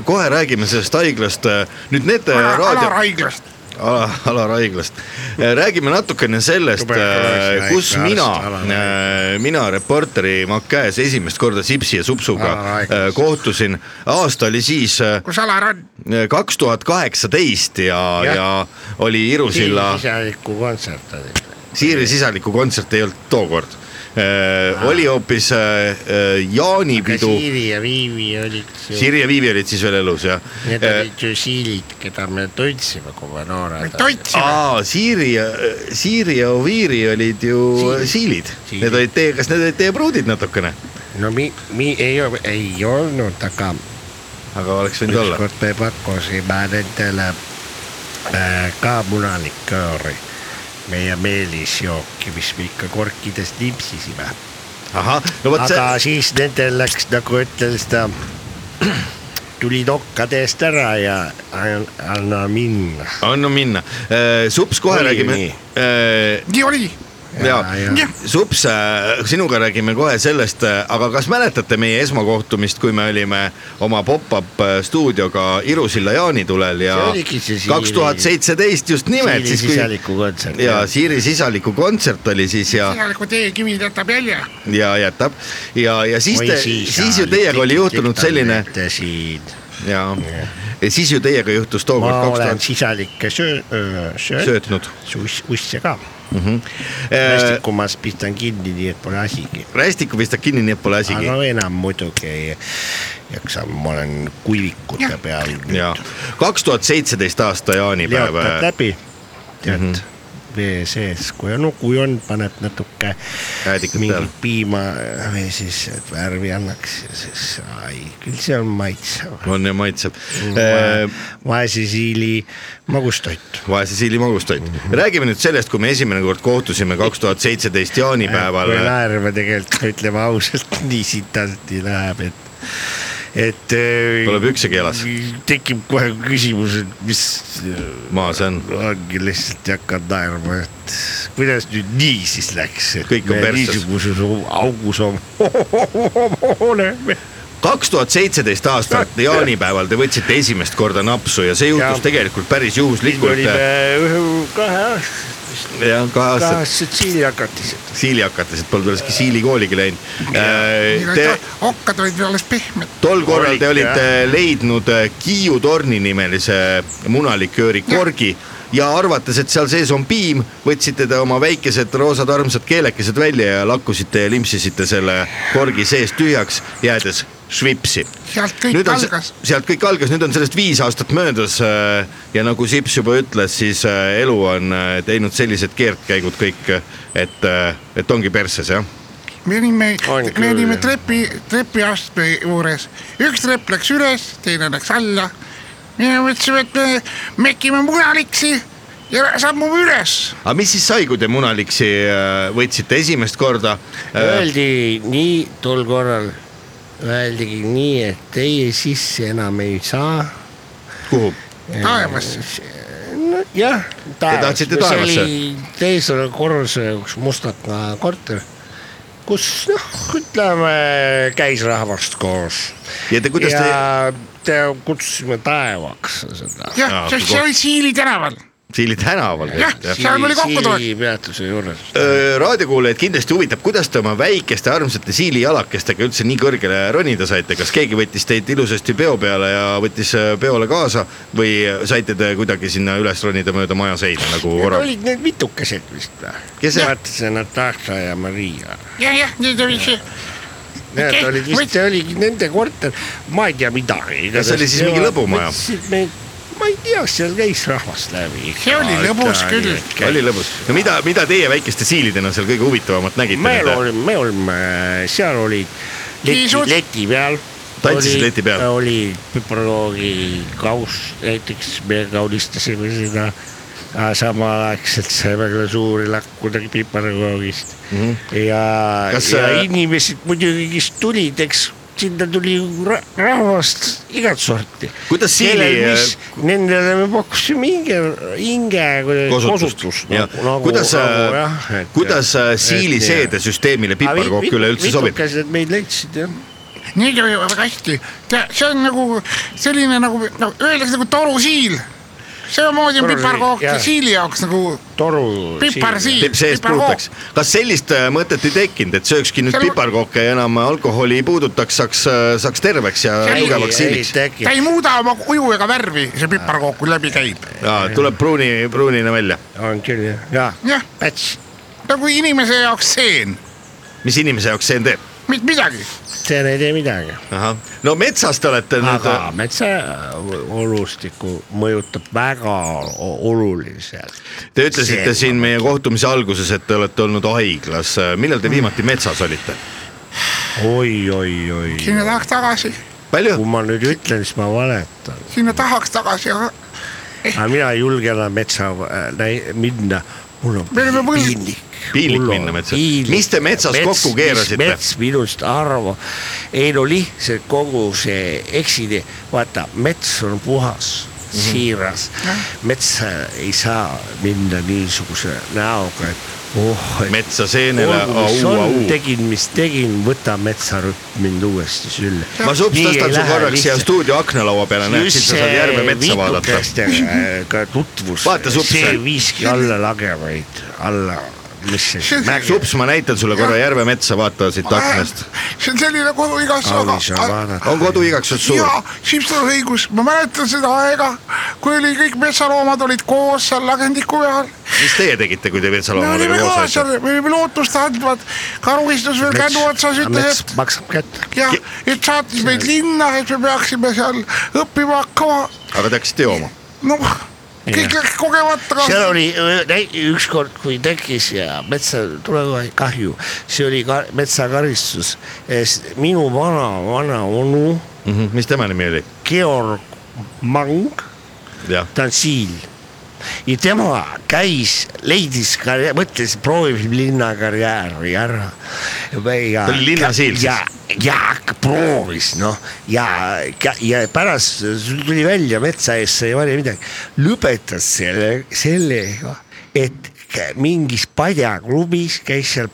kohe räägime sellest haiglast , nüüd need äh, raadio .
haiglast .
ala , Alar Haiglast . räägime natukene sellest äh,
Jube haiglast, ,
kus
haiglast,
mina äh,
Alar ,
mina reporteri Makäes esimest korda Sipsi ja Supsuga
Alar Haiglast.
äh, kohtusin . aasta oli siis äh,
kus Alar on ?
kaks tuhat kaheksateist ja ,
Jah.
ja oli Irusilla
sisaliku kontsert oli .
Siiri sisaliku kontsert ei olnud tookord . oli hoopis äh, äh, jaanipidu ,
Siiri ja Viivi olid ju ,
Siiri ja Viivi olid siis veel elus jah .
need
Äh,
olid ju siilid , keda me tundsime , kui me noored olime .
aa , Siiri ja , Siiri ja Oviiri olid ju siilid, siilid. ,
Siilid.
need olid teie , kas need olid teie pruudid natukene ?
no mi- , mi- ei , ei olnud , aga
aga oleks võinud olla .
ükskord me pakkusime nendele äh, ka munalikööri , meie meelisjooki , mis me ikka korkides nimpsisime .
ahah , no vot see
aga , siis nendel läks nagu ütleme <clears throat> seda , tulid okkade eest ära ja an- anna minna .
anna Ah, minna . Sups , kohe
Oli ju
räägime .
nii?
nii oli . ja
Jaa, jaa. ,
Sups , sinuga räägime kohe sellest , aga kas mäletate meie esmakohtumist , kui me olime oma pop-up äh, stuudioga Irusilla jaanitulel ja
See oligi see Siiri-
kaks tuhat seitseteist just nimelt , siis kui
sisaliku kontsert .
ja Siiri sisaliku kontsert oli siis ja ,
sisaliku teekivi jätab jälje .
ja jätab ja , ja siis te , siis ju teiega oli juhtunud selline
siin ,
ja , ja siis ju teiega juhtus tookord
ma
kaks
olen
tuhat
sisalikke söö- , söönud ,
söötnud .
usse ka .
Äh,
hästi , kui ma pistan kinni , nii et pole asigi .
rästiku pistab kinni , nii et pole asigi .
aga enam muidugi ei jaksa , ma olen kuivikute peal .
ja kaks tuhat seitseteist aasta jaanipäev .
leotad läbi , tead
Mhm.
mm . -hmm vee sees , kui on , kui on , paned natuke
Jäädikat peale.
mingit piima või siis , et värvi annaks ja siis , ai , küll see on maitsev .
on ja maitseb .
Mm,
Äh,
vaese siili magustoit .
vaese siili magustoit .
Mhm.
räägime nüüd sellest , kui me esimene kord kohtusime kaks tuhat seitseteist jaanipäeval
Äh, kui . naerma tegelikult , ütleme ausalt , <laughs> nii sitasti läheb , et , et .
Tuleb üksegi jalas. .
tekib kohe küsimus , et mis äh,
maa see on .
ongi lihtsalt ja hakkad naerma , et kuidas nüüd nii siis läks , et
Kõik on
me
perses.
<laughs> niisuguses au- augus oma oleme .
kaks tuhat seitseteist aastat jaanipäeval te võtsite esimest korda napsu ja see juhtus
Ja.
tegelikult päris juhuslikult .
olime ühe- kahe aastat ,
jah , kahe
kahe
aastat
aastat siilihakatised .
siilihakates , et polnud üleski siilikooligi läinud . Te
okkad olid alles pehmed .
tol korral te
Olid,
olite leidnud äh, Kiiu torni nimelise munalikööri korgi ja arvates , et seal sees on piim , võtsite te oma väikesed roosad armsad keelekesed välja ja lakkusite ja limpsisite selle korgi sees tühjaks , jäädes švipsi .
sealt kõik
nüüd on
algas .,
sealt kõik algas , nüüd on sellest viis aastat möödas äh, ja nagu Sips juba ütles , siis äh, elu on äh, teinud sellised keerdkäigud kõik , et , et ongi perses jah .
me olime
On ,
me
küll.
olime trepi , trepiastme juures , üks trepp läks üles , teine läks alla . ja mõtlesime , et me mekime munaliksi ja sammume üles .
aga mis siis sai , kui te munaliksi äh, võtsite esimest korda äh, ?
Öeldi nii tol korral , öeldigi nii , et teie sisse enam ei saa .
kuhu ?
taevasse ,
jah ,
tahtsite
see
taevasse?
oli teisel korrusel üks mustaka korter , kus noh , ütleme käis rahvast koos
ja te , kuidas ja... te
ja te... kutsusime taevaks seda .
jah
Aa, ,
see
kogu-
oli Siili tänaval ,
Siili tänaval
jah ,
käisite jah ?
seal oli kokkutulek .
peatuse juures .
raadiokuulajaid Äh, kindlasti huvitab , kuidas te oma väikeste armsate siili jalakestega üldse nii kõrgele ronida saite , kas keegi võttis teid ilusasti peo peale ja võttis äh, peole kaasa või saite te kuidagi sinna üles ronida mööda maja seina nagu orav ?
olid need mitukesed vist või ?
Kes see-
vaatasin Natasha ja Maria .
jah , jah , nüüd oli see ,
Need
Okei,
olid vist ,
võt-
see oligi nende korter , ma ei tea midagi .
Kas see oli siis mingi lõbumaja?
ma ei tea , seal käis rahvast läbi .
see oli lõbus küll .
oli lõbus , no mida , mida teie väikeste siilidena seal kõige huvitavamat
me
nägite ?
olime , me olime , äh, seal olid leti ,
Kiisud.
leti peal .
Tantsisid leti peal?
oli püproloogi kauss , näiteks me kaunistasime seda , samaaegselt saime ka suuri lakkude piparkoogist
Mhm.
mm . -hmm. ja ,
Kas,
ja
äh,
inimesed muidugi , kes tulid , eks sinna tuli ju ra- rahvast igat sorti .
Kuidas Siili, äh,
Nendele me pakkusime hinge , hinge kuidas- kosutust nagu- nagu-
kuidas äh,
nagu jah, , et-
kuidas äh, siili
et-
seedesüsteemile piparkook üleüldse sobib ?
mitukesed meid leidsid jah .
nii käib väga hästi , see on nagu selline nagu , nagu öeldakse nagu torusiil . samamoodi on
Torusiil,
piparkook
jah.
siili jaoks nagu
toru .
piparsiil .
teeb seest puhtaks . kas sellist äh, mõtet ei tekkinud , et söökski nüüd
Seal-
piparkooke ja enam alkoholi ei puudutaks , saaks , saaks terveks ja
Seal-
tugevaks siiliks ?
ta ei muuda oma kuju ega värvi , see piparkook , kui läbi käib .
tuleb pruuni , pruunina välja .
on küll jah , jah ,
jah ,
päts ,
nagu inimese jaoks seen ,
mis inimese jaoks see teeb ?
mitte midagi .
seal ei tee midagi .
no metsas te olete nüüd äh,
aga metsaolustikku mõjutab väga o- oluliselt .
Te ütlesite
see-
siin meie kohtumise alguses , et te olete olnud haiglas . millal te viimati metsas olite ?
oi , oi , oi ,
sinna tahaks tagasi ,
palju
kui ? ma nüüd ütlen , siis ma valetan ,
sinna tahaks tagasi , aga
aga mina ei julge enam metsa äh, näi- minna , mul on
Me oleme mõelnud-
piinlik .
Piinlik
Mul on
minna metsa.
piinlik.
Mis te metsas kokku keerasite?
mis mets minust arvab , ei no lihtsalt kogu see ekside , vaata mets on puhas
Mhm.
siiras , metsa ei saa minna niisuguse näoga , et oh , et
metsa seenele ,
olgu , mis on ,
au-au .
tegin , mis tegin , võta metsarüpp mind uuesti sülle .
ma sups
Nii ei
tõstan su
lähe
korraks siia
lihtsalt.
stuudio aknalaua peale , näed , siis sa saad järve metsa vaadata .
Äh, ka tutvus ,
Vaata supse.
see viiski alla lagevaid , alla , mis see mägi
sups , ma näitan sulle korra järve metsa , vaata siit aknast .
Äh, see on selline kodu igas .
kaunis on vaadata .
on kodu igaks juhuks suur
jaa , Sipsel on õigus , ma mäletan seda aega , kui oli kõik metsaloomad olid koos seal lagendiku peal
mis teie tegite , kui te
me
Virtsaloomadega
olime ka
koos olite ?
seal , me olime lootust andvad , karuistus veel kännu otsas ütles ,
mets maksab kätte .
et jah , et saatis meid linna , et me peaksime seal õppima hakkama ,
aga te hakkasite jooma ?
noh , kõik läks kogemata
seal
kaasa .
oli öö, näi- ükskord , kui tekkis ja metsa tuleb kahju , see oli ka metsakaristus . minu vana , vana onu
Mhm, mis tema nimi oli ?
Georg Mang ,
jah ,
ta on siil . ja tema käis , leidis ka , mõtles , proovib linnakarjääri ära .
Ta oli linnasiil siis?
ja , ja hakk- proovis noh ja , ja , ja pärast tuli välja metsa ees , sai varja midagi , lõpetas selle , sellega , et mingis padjaklubis käis seal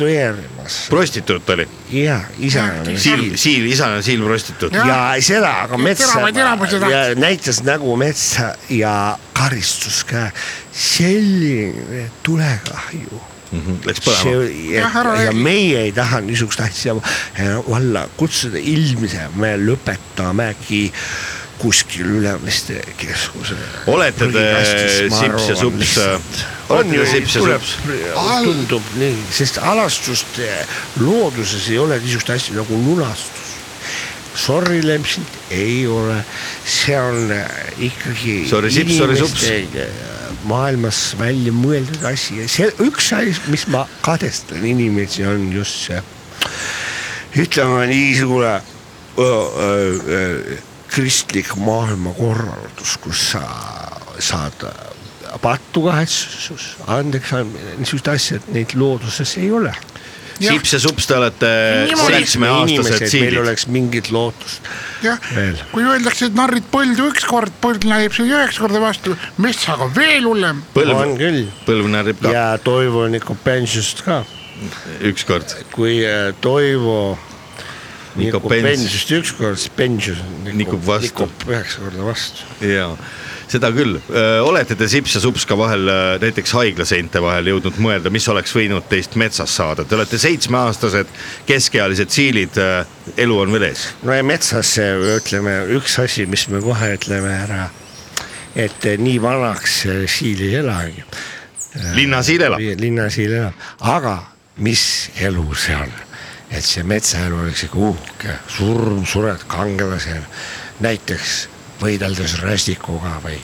prostitueerimas
prostituut oli ,
ja isa oli
siil , siil , isane siil prostituut .
ja seda aga metsa
teravaid elamusi
ja
tahtis.
näitas nägu metsa ja karistus ka selline tulekahju
Läks
see
põlema .
oli ja,
Jah, ära
ja
räägi.
meie ei taha niisugust asja eh, valla kutsuda ilmselt me lõpetamegi kuskil Ülemiste keskuse .
olete te sips ja sups ,
on
olete
ju
te , sips ja
tuleb
sups ?,
tundub nii , sest alastust eh, looduses ei ole niisugust asja nagu lunastus . Sorry lempsid ei ole , see on eh, ikkagi
Sorry, sips, sorry, sups.
inimeste, eh, maailmas välja mõeldud asi ja see üks asi , mis ma kadestan inimesi , on just see , ütleme niisugune öö, öö, öö, kristlik maailmakorraldus , kus sa saad äh, pattukahetsus , andeks andmine , niisugused asjad , neid looduses ei ole .
sips ja sups , te olete seitsmeaastased
meil
siilid .
oleks mingit lootust
jah
Veel. ,
kui öeldakse , et narrid põldu ükskord , põld näib sulle üheksa korda vastu , metsaga veel hullem .
on
põlv ,
küll
põlv närib ka
ja Toivo Nikopensust ka ,
ükskord .
kui äh, Toivo
Nikopens
Nikopensust ükskord , siis Pensus
Nikub vastu.
nikub üheksa korda vastu .
ja seda küll , olete te sips ja sups ka vahel öö, näiteks haiglaseinte vahel jõudnud mõelda , mis oleks võinud teist metsas saada , te olete seitsmeaastased keskealised siilid , elu on veel ees .
no ja metsas see, ütleme üks asi , mis me kohe ütleme ära , et äh, nii vanaks see siil ei elagi ,
linnasiil elab ,
linnasiil elab , aga mis elu see on , et see metsaelu oleks ikka uhke , surm , sured kangelasena , näiteks võideldes rästikuga või ,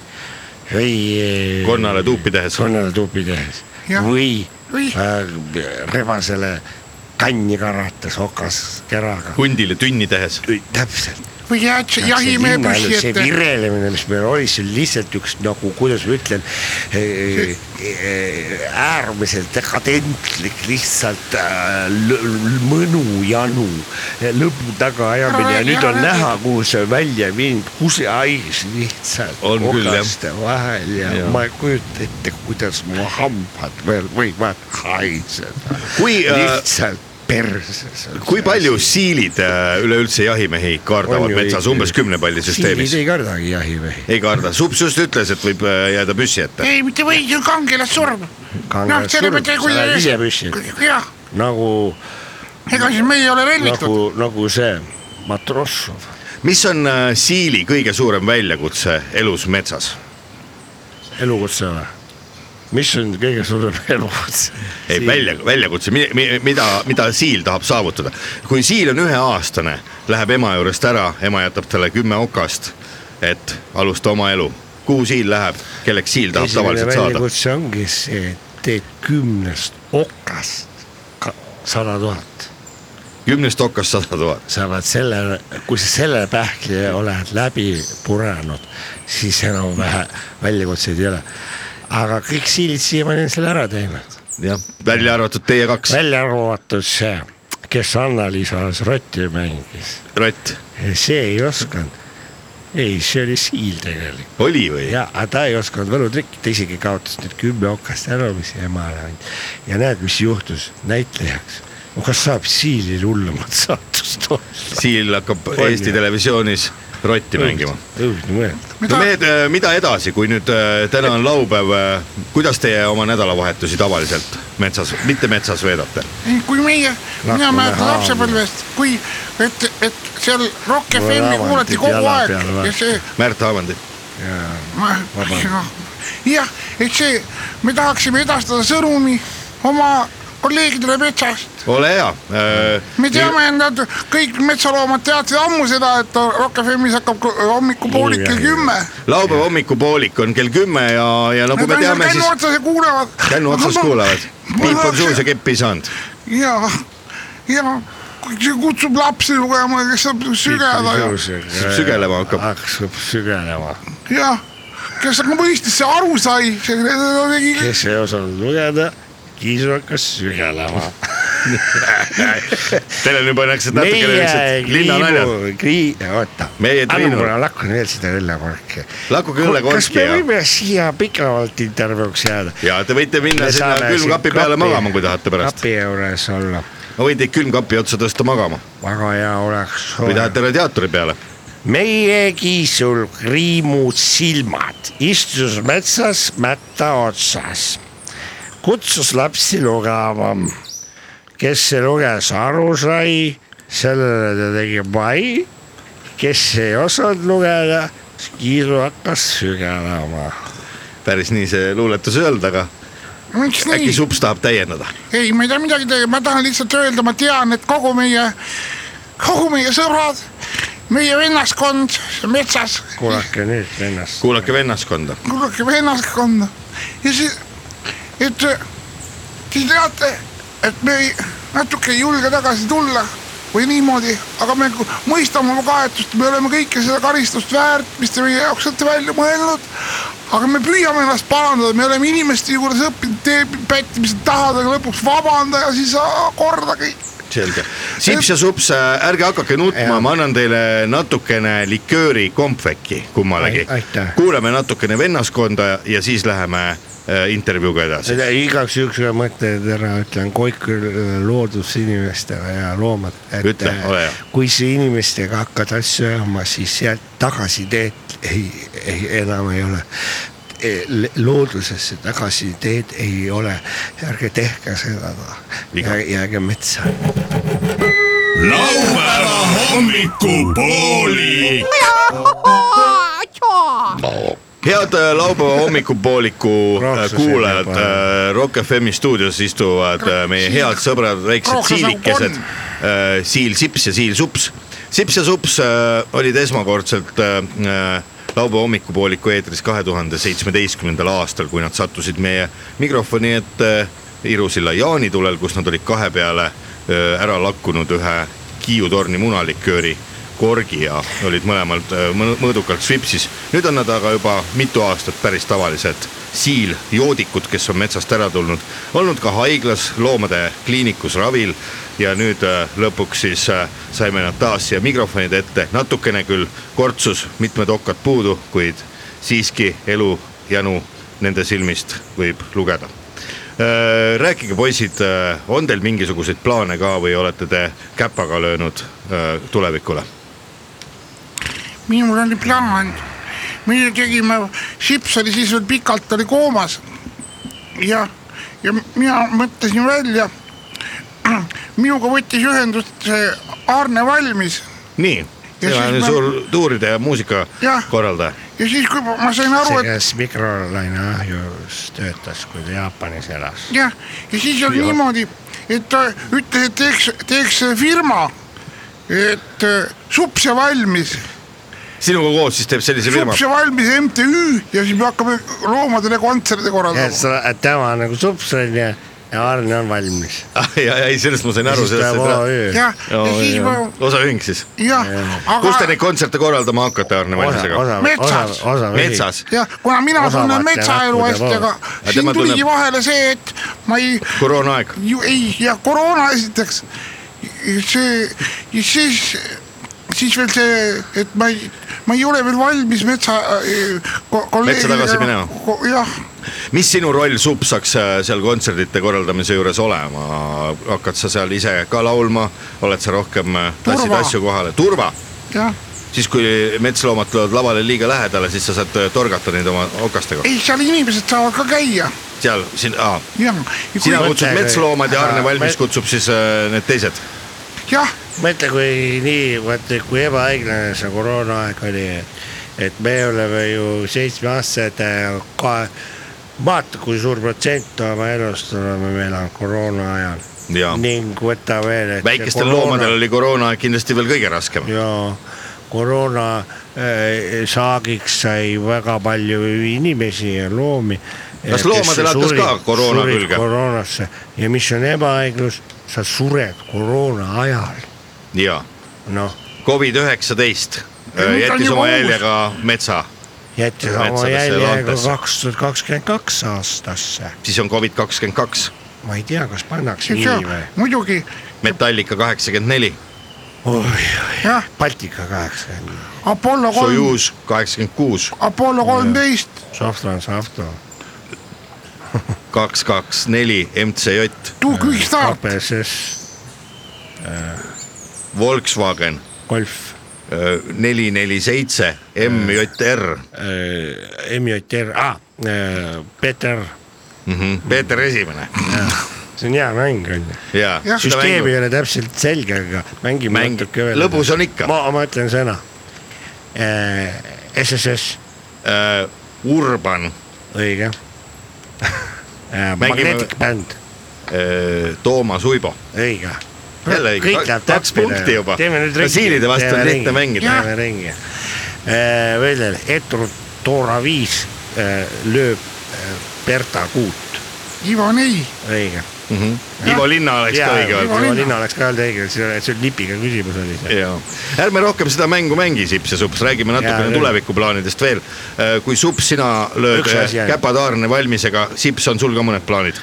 või .
konnale tuupi tehes .
konnale tuupi tehes
Jah.
või, või.
Või.
Äh, rebasele kanni karates okas keraga ,
hundile tünni tehes .
täpselt .
või jääd
Jah,
jahimehe
see linnaelu,
püssi
see
ette .
virelemine , mis meil oli , see oli lihtsalt üks nagu , kuidas ma ütlen , äärmiselt dekadentlik , lihtsalt äh, lõ- mõnujanu lõpu taga ajamine ja
Ära
nüüd
räägi,
on
ära
näha , kuhu see on välja viinud , kuseais lihtsalt
On küll, jah.
okaste vahel ja, ja
Jah.
ma ei kujuta ette , kuidas mu hambad veel võivad haiseda ,
kui ,
lihtsalt perses .
kui palju siilid öö, üleüldse jahimehi
On
kaardavad
ju
metsas ,
õige.
umbes kümne palli süsteemis
siilid ? ei kardagi jahimehi .
ei karda , sups just ütles , et võib öö, jääda püssi ette .
ei , mitte või , see on Noh, kangelassurm .
Kangelassurm, sa lähed ise püssi ette.
jah ,
nagu
ega siis meie ei ole relvitud .
nagu , nagu see Matrossov .
mis on öö, siili kõige suurem väljakutse elus metsas ?
elukutse või ? mis on kõige suurem <laughs> elukutse ?
ei , välja , väljakutse , mida , mida siil tahab saavutada . kui siil on üheaastane , läheb ema juurest ära , ema jätab talle kümme okast , et alusta oma elu . kuhu siil läheb , kelleks siil tahab
esimene
tavaliselt saada ?
väljakutse ongi see , teed kümnest okast ka- sada tuhat .
kümnest okast sada tuhat .
sa pead selle , kui sa selle pähkli oled läbi purenud , siis enam-vähe väljakutseid ei ole . aga kõik siilid siiamaani on selle ära teinud .
jah , välja arvatud teie kaks ,
välja arvatud see , kes Anna-Liisas rotti mängis
Rott .
Ja see ei osanud , ei , see oli siil tegelikult
oli või ?
ja , aga ta ei osanud võlutrikki , ta isegi kaotas nüüd kümme okast ära , mis emale andis . ja näed , mis juhtus näitlejaks . no kas saab siilil hullemat saatust <laughs> olla ?
siil hakkab
ju.
Eesti Televisioonis Rotti mängima .
õudne mõelda .
no mehed , mida edasi , kui nüüd äh, täna on laupäev , kuidas teie oma nädalavahetusi tavaliselt metsas , mitte metsas veedate ?
kui meie , mina
Lakume
mäletan
haavi.
lapsepõlvest , kui , et , et seal Rock
Mul
FM-i
lavandid
kuulati kogu
jala
aeg
peal või?
ja see ,
Märt Haavandi ,
ma ,
Vabandust.
jah , et see , me tahaksime edastada sõnumi oma kolleegidele metsas .
ole hea . Äh,
me teame , nad kõik metsaloomad teadsid ammu seda , et Rock FM-is hakkab ko- hommikupoolik kell kümme .
laupäeva hommikupoolik on kell kümme ja , ja nagu
Nad
me
on seal
teame ,
kännu
siis
otsas ja kuulevad .
kännu otsas kuulavad . piip on suus ja . keppi ei saanud .
ja , ja kui see kutsub lapsi lugema , kes saab sügeda ja ,
sügelema hakkab.
hakkab Ah, sügelema .
ja kes aga mõistesse aru sai , see see- see tegi
kes ei osanud lugeda , siis hakkas sügelema .
Teil on juba niisugused natukene niisugused linnanaljad .
kriibu , oota .
Meie triinu-
anna mulle lakku veel seda õllekorki .
Lakkuge õllekorki
kas
ja-
me võime siia pikemalt intervjuuks jääda ?
ja te võite minna sinna külmkapi peale magama , kui tahate pärast .
kapi juures olla ,
ma võin teid külmkapi otsa tõsta magama
väga hea oleks .
või tahate radiaatori peale .
meiegi sul kriimud silmad , istus metsas mätta otsas , kutsus lapsi lugema . kes see luges , aru sai , sellele ta tegi pai , kes ei osanud lugeda , kiiru hakkas sügelema .
päris nii see luuletus ei olnud , aga
miks
äkki
nii ?
Sups tahab täiendada .
ei , ma ei taha midagi teha , ma tahan lihtsalt öelda , ma tean , et kogu meie , kogu meie sõbrad , meie vennaskond metsas ,
kuulake nüüd vennast ,
kuulake vennaskonda .
kuulake vennaskond ja siis , et te teate , et me ei, natuke ei julge tagasi tulla või niimoodi , aga me ku- mõistame oma kahetust , me oleme kõike seda karistust väärt , mis te meie jaoks olete välja mõelnud . aga me püüame ennast parandada , me oleme inimeste juures õppinud , tee pättimised tahad , aga lõpuks vabanda ja siis aa, korda kõik .
selge . Sips ja Sups , ärge hakake nutma , ma annan teile natukene likööri kompveki kummalegi
Ai- aitäh. .
kuulame natukene vennaskonda ja siis läheme äh, intervjuuga edasi .
igaks juhuks ühe mõtte ära ütlen , kõik loodusinimestele ja loomad , et äh,
Ütle, ole hea.
kui sa inimestega hakkad asju ajama , siis sealt tagasiteed ei, ei , enam ei ole . loodusesse tagasiteed ei ole , ärge tehke seda , jääge metsa .
laupäeva hommikupoolik .
head äh, laupäeva hommikupooliku äh,
Raaksus
kuulajad äh,
jälle ,
Rock FM'i stuudios istuvad äh, meie head sõbrad , väiksed
Raaksus nagu
siilikesed äh,
konn. ,
Siil Sips ja Siil Sups . Sips ja Sups äh, olid esmakordselt äh, äh, laupäeva hommikupooliku eetris kahe tuhande seitsmeteistkümnendal aastal , kui nad sattusid meie mikrofoni ette äh, Iru-Silla jaanitulel , kus nad olid kahe peale äh, ära lakkunud ühe Kiiu torni munalikööri korgi ja olid mõlemad äh, mõ- mõõdukalt svipsis . nüüd on nad aga juba mitu aastat päris tavalised siiljoodikud , kes on metsast ära tulnud , olnud ka haiglas loomade kliinikus ravil ja nüüd äh, lõpuks siis äh, saime nad taas siia mikrofonide ette , natukene küll kortsus , mitmed okkad puudu , kuid siiski elu janu nende silmist võib lugeda . Äh, rääkige , poisid , on teil mingisuguseid plaane ka või olete te käpaga löönud äh, tulevikule ?
minul oli plaan , meie tegime , Sips oli siis veel pikalt oli koomas . ja , ja mina mõtlesin välja , <clears throat> minuga võttis ühendust see Arne Valmis
nii ,
Ja
tema
siis
on
ma-
suur tuuride ja muusika
Jah.
korraldaja .
ja siis , kui ma ma sain aru ,
see ,
et
kes mikrolaineahjus töötas , kui ta Jaapanis elas .
jah , ja siis oli niimoodi , et ta ütles , et teeks , teeks firma , et äh, Sups ja Valmis
sinuga koos siis teeb sellise firma
Sups ? ja Valmis MTÜ ja siis me hakkame loomadele kontserte korraldama .
tema on nagu sups on ju ja Arne on valmis .
<laughs> ja , ja ei , sellest ma sain aru , sellest ei
osa ,
jah , E.
Oh,
ja siis ma ,
osaühing siis .
jah ,
kus te
aga
neid kontserte korraldama hakkate , Arne Valmisega ?
osa , osa
Metsas. ,
osa .
metsas ,
jah , kuna mina
Osavalt
tunnen
ja
metsaelu
näppude
hästi ,
poole.
aga
Aga
siin
tema
tuligi
tunneb-
vahele see , et ma ei ,
koroonaaeg .
ei ja koroona esiteks . see ja siis , siis veel see , et ma ei , ma ei ole veel valmis metsa äh, ko- kolleegidega-
tagasi minema.
ko- jah ,
mis sinu roll Supsaks äh, seal kontserdite korraldamise juures olema , hakkad sa seal ise ka laulma , oled sa rohkem , tassid
Turva.
asju kohale , turva .
jah ,
siis kui metsloomad tulevad lavale liiga lähedale , siis sa saad äh, torgata neid oma okastega ,
ei seal inimesed saavad ka käia ,
seal siin ,
jah .
sina
mõtle,
kutsud
kui-
metsloomad ja Arne
aga
Valmis
me-
kutsub siis äh, need teised .
jah ,
mõtle , kui nii , vaata kui ebaõiglane see koroonaaeg oli , et me oleme ju seitsmeaastased , vaata kui suur protsent oma elust oleme meil on koroona ajal
Jaa.
ning võta veel .
väikestel loomadel oli koroonaaeg kindlasti veel kõige raskem .
ja koroona eh, saagiks sai väga palju inimesi ja loomi . Eh,
Kas loomadel hakkas ka koroona külge?
koroonasse ja mis on ebaõiglus , sa sured koroona ajal ,
jaa ,
noh ,
Covid üheksateist
Ja nüüd on
jättis
juba
oma
uus.
jälje ka metsa ,
jättis oma
Metsadesse ja
jälje ka
loontesse.
kaks tuhat kakskümmend kaks aastasse .
siis on Covid kakskümmend kaks
ma ei tea , kas pannakse
see
nii või .
muidugi
Metallica kaheksakümmend neli ,
jah ,
Baltika kaheksakümmend ,
Apollo kolm ,
Soyuz kaheksakümmend kuus ,
Apollo kolmteist ,
Softron , Softron ,
kaks , kaks , neli , MCJ ,
Two Quick Start ,
KPSS ,
Volkswagen äh,
Golf ,
neli , neli , seitse , MJR ,
MJR , aa , Äh, Peeter ,
Peeter Esimene
see on hea mäng on ju .
ja
Jah.
seda
süsteem ei
mängu
ole täpselt selge , aga mängime
Mäng-
natuke veel .
lõbus on ikka.
ma , ma ütlen sõna . Äh, SSS ,
äh, Urban
õige . Magnetic Band ,
äh, , Toomas Uibo ,
õige .
jälle õige , kaks punkti juba , Brasiilide vastu on lihtne mängida .
teeme ringi . veel Etru Tora viis äh, lööb äh, Berta kuut ,
Ivo neli ,
õige .
Ivo Linna oleks ka õige olnud .
Ivo Linna oleks ka olnud õige , see see oli lipiga küsimus oli see .
jaa , ärme rohkem seda mängu mängi , Sips ja Sups , räägime
Jaa,
natukene
küll.
tulevikuplaanidest veel . kui Sups , sina lööd
Üks asi
eh,
jäi.
käpataarne valmis , aga Sips , on sul ka mõned plaanid ?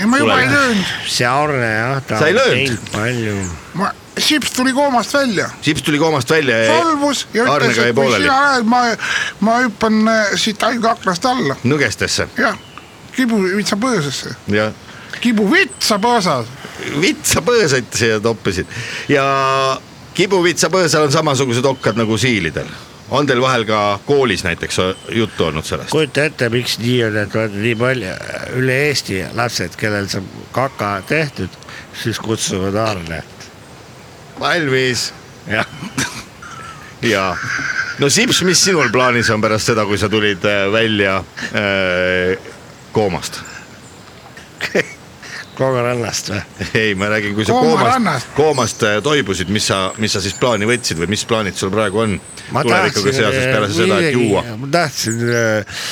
ei ma juba
Tule.
ei löönud ,
see Arne jah , ta
Sa ei
on
löönud?
teinud palju .
ma , Sips tuli koomast välja ,
Sips tuli koomast välja ja
solvus ja ütles ,
Arnega jäi
et kui
pooleli
sina lähed , ma , ma hüppan äh, siit haigla aknast alla ,
nõgestesse
jah , kibu vitsa põõsasse ,
ja
kibu vitsa põõsas ,
vitsa põõsaid siia toppisid ja kibuvitsa põõsal on samasugused okkad nagu siilidel . on teil vahel ka koolis näiteks juttu olnud sellest ?
kujuta ette , miks nii on , et on nii palju üle Eesti lapsed , kellel saab kaka tehtud , siis kutsuvad <laughs> Arnet .
valmis
jah ,
ja no Sips , mis sinul plaanis on pärast seda , kui sa tulid äh, välja äh, koomast ?
Koomarannast või ?
ei , ma räägin , kui sa koomast
Koomarannast. ,
koomast äh, toibusid , mis sa , mis sa siis plaani võtsid või mis plaanid sul praegu on
ma
tulevikuga
tahtsin
seoses
äh,
peale seda , et
midagi-
juua ?
ma tahtsin äh,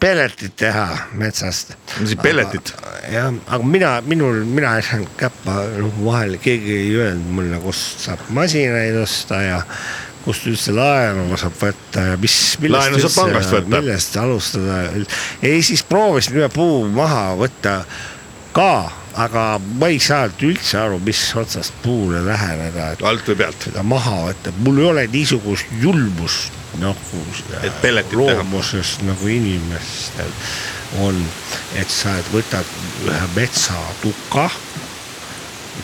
pelletit teha metsast .
mis see pelletit ?
jah , aga mina , minul , mina ei saanud käppa , noh vahel keegi ei öelnud mulle , kust saab masinaid osta ja kust üldse laenu saab võtta ja mis .
Laenu saab pangast võtta.
millest alustada , ei siis proovisin ühe puu maha võtta ka , aga ma ei saanud üldse aru , mis otsast puule läheneda , et
alt või pealt ?
seda maha võtta , mul ei ole niisugust julmust nagu
Et pelletit teha.
loomuses nagu inimestel on , et sa võtad ühe metsatuka .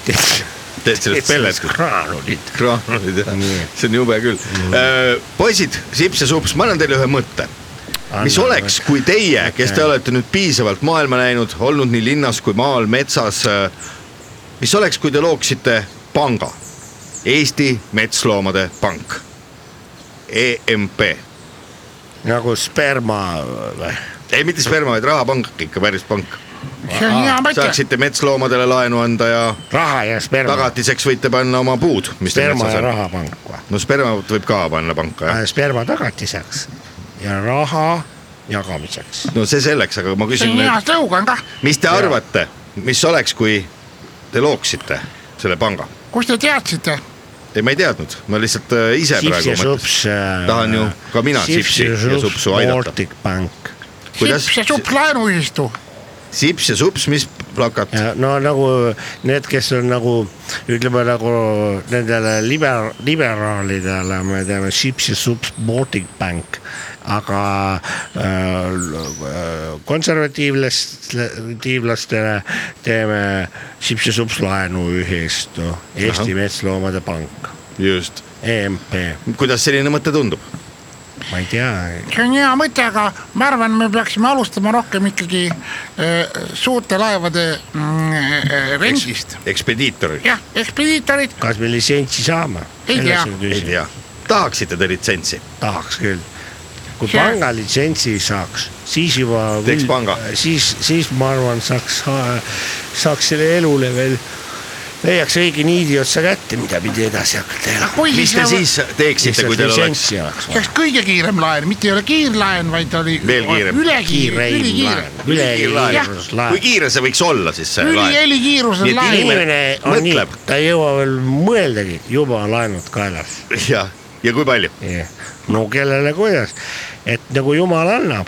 teed sellest pelletit ?
kraanulid .
kraanulid jah
Nii. ,
see on jube küll . poisid , Sips ja Sups , ma annan teile ühe mõtte . mis oleks , kui teie , kes te olete nüüd piisavalt maailma näinud , olnud nii linnas kui maal , metsas . mis oleks , kui te looksite panga , Eesti Metsloomade Pank , E EMP ,
nagu sperma või ?
ei mitte sperma , vaid rahapank ikka , päris pank .
see on hea mõte ,
saaksite metsloomadele laenu anda ja
raha ja sperma .
tagatiseks võite panna oma puud , mis teil
sperma
metsas
ja
on .
rahapank või ?
no spermat võib ka panna panka jah ,
sperma tagatiseks ja raha jagamiseks .
no see selleks , aga ma
see
küsin
on
nüüd
hea slogan kah ,
mis te arvate , mis oleks , kui te looksite selle panga ?
kust te teadsite ,
ei , ma ei teadnud , ma lihtsalt äh, ise
Sips
praegu
ja äh, Sups .
Tahan ju ka mina Sipsi ja Supsu aidata.
Baltic Bank
kuidas
Sips ja Sups laenuühistu ,
Sips ja Sups , mis plakat ?
ja no nagu need , kes on nagu ütleme nagu nendele liber- , liberaalidele , me teame , Chips ja Sups Baltic Bank , aga äh, l- konservatiivlastele teeme Chips ja Sups laenuühistu , Eesti Metsloomade Pank ,
just ,
EMP ,
kuidas selline mõte tundub ?
ma ei tea ,
see on hea mõte , aga ma arvan , me peaksime alustama rohkem ikkagi äh, suurte laevade mm, äh, rendist ,
ekspediitoril ,
jah , ekspediitorid ,
kas me litsentsi saame ?
Ei tea.
ei tea , tahaksite te litsentsi ?
tahaks küll . kui
Jah.
panga litsentsi saaks , siis juba .
Teeks panga.
siis , siis ma arvan , saaks , saaks selle elule veel , leiaks õige niidi otsa kätte , mida pidi edasi hakata elama .
kui
mis te
siis , nagu-
siis teeksite , kui teil oleks
oleks
kas kõige kiirem laen , mitte ei ole kiirlaen , vaid oli
Veel kiirem.
ülekiire ,
kiireim
ülikiire
laen ,, ülekiirus
kui
laen .
kiire see võiks olla siis see <laughs> laen ? Nii
ülielikiirusel
et
laen ,
inimene on nii
mõtleb. ,
ta ei jõua veel mõeldagi , juba on laenud kaelas .
jah , ja kui palju ?
no kellele kuidas , et nagu jumal annab ,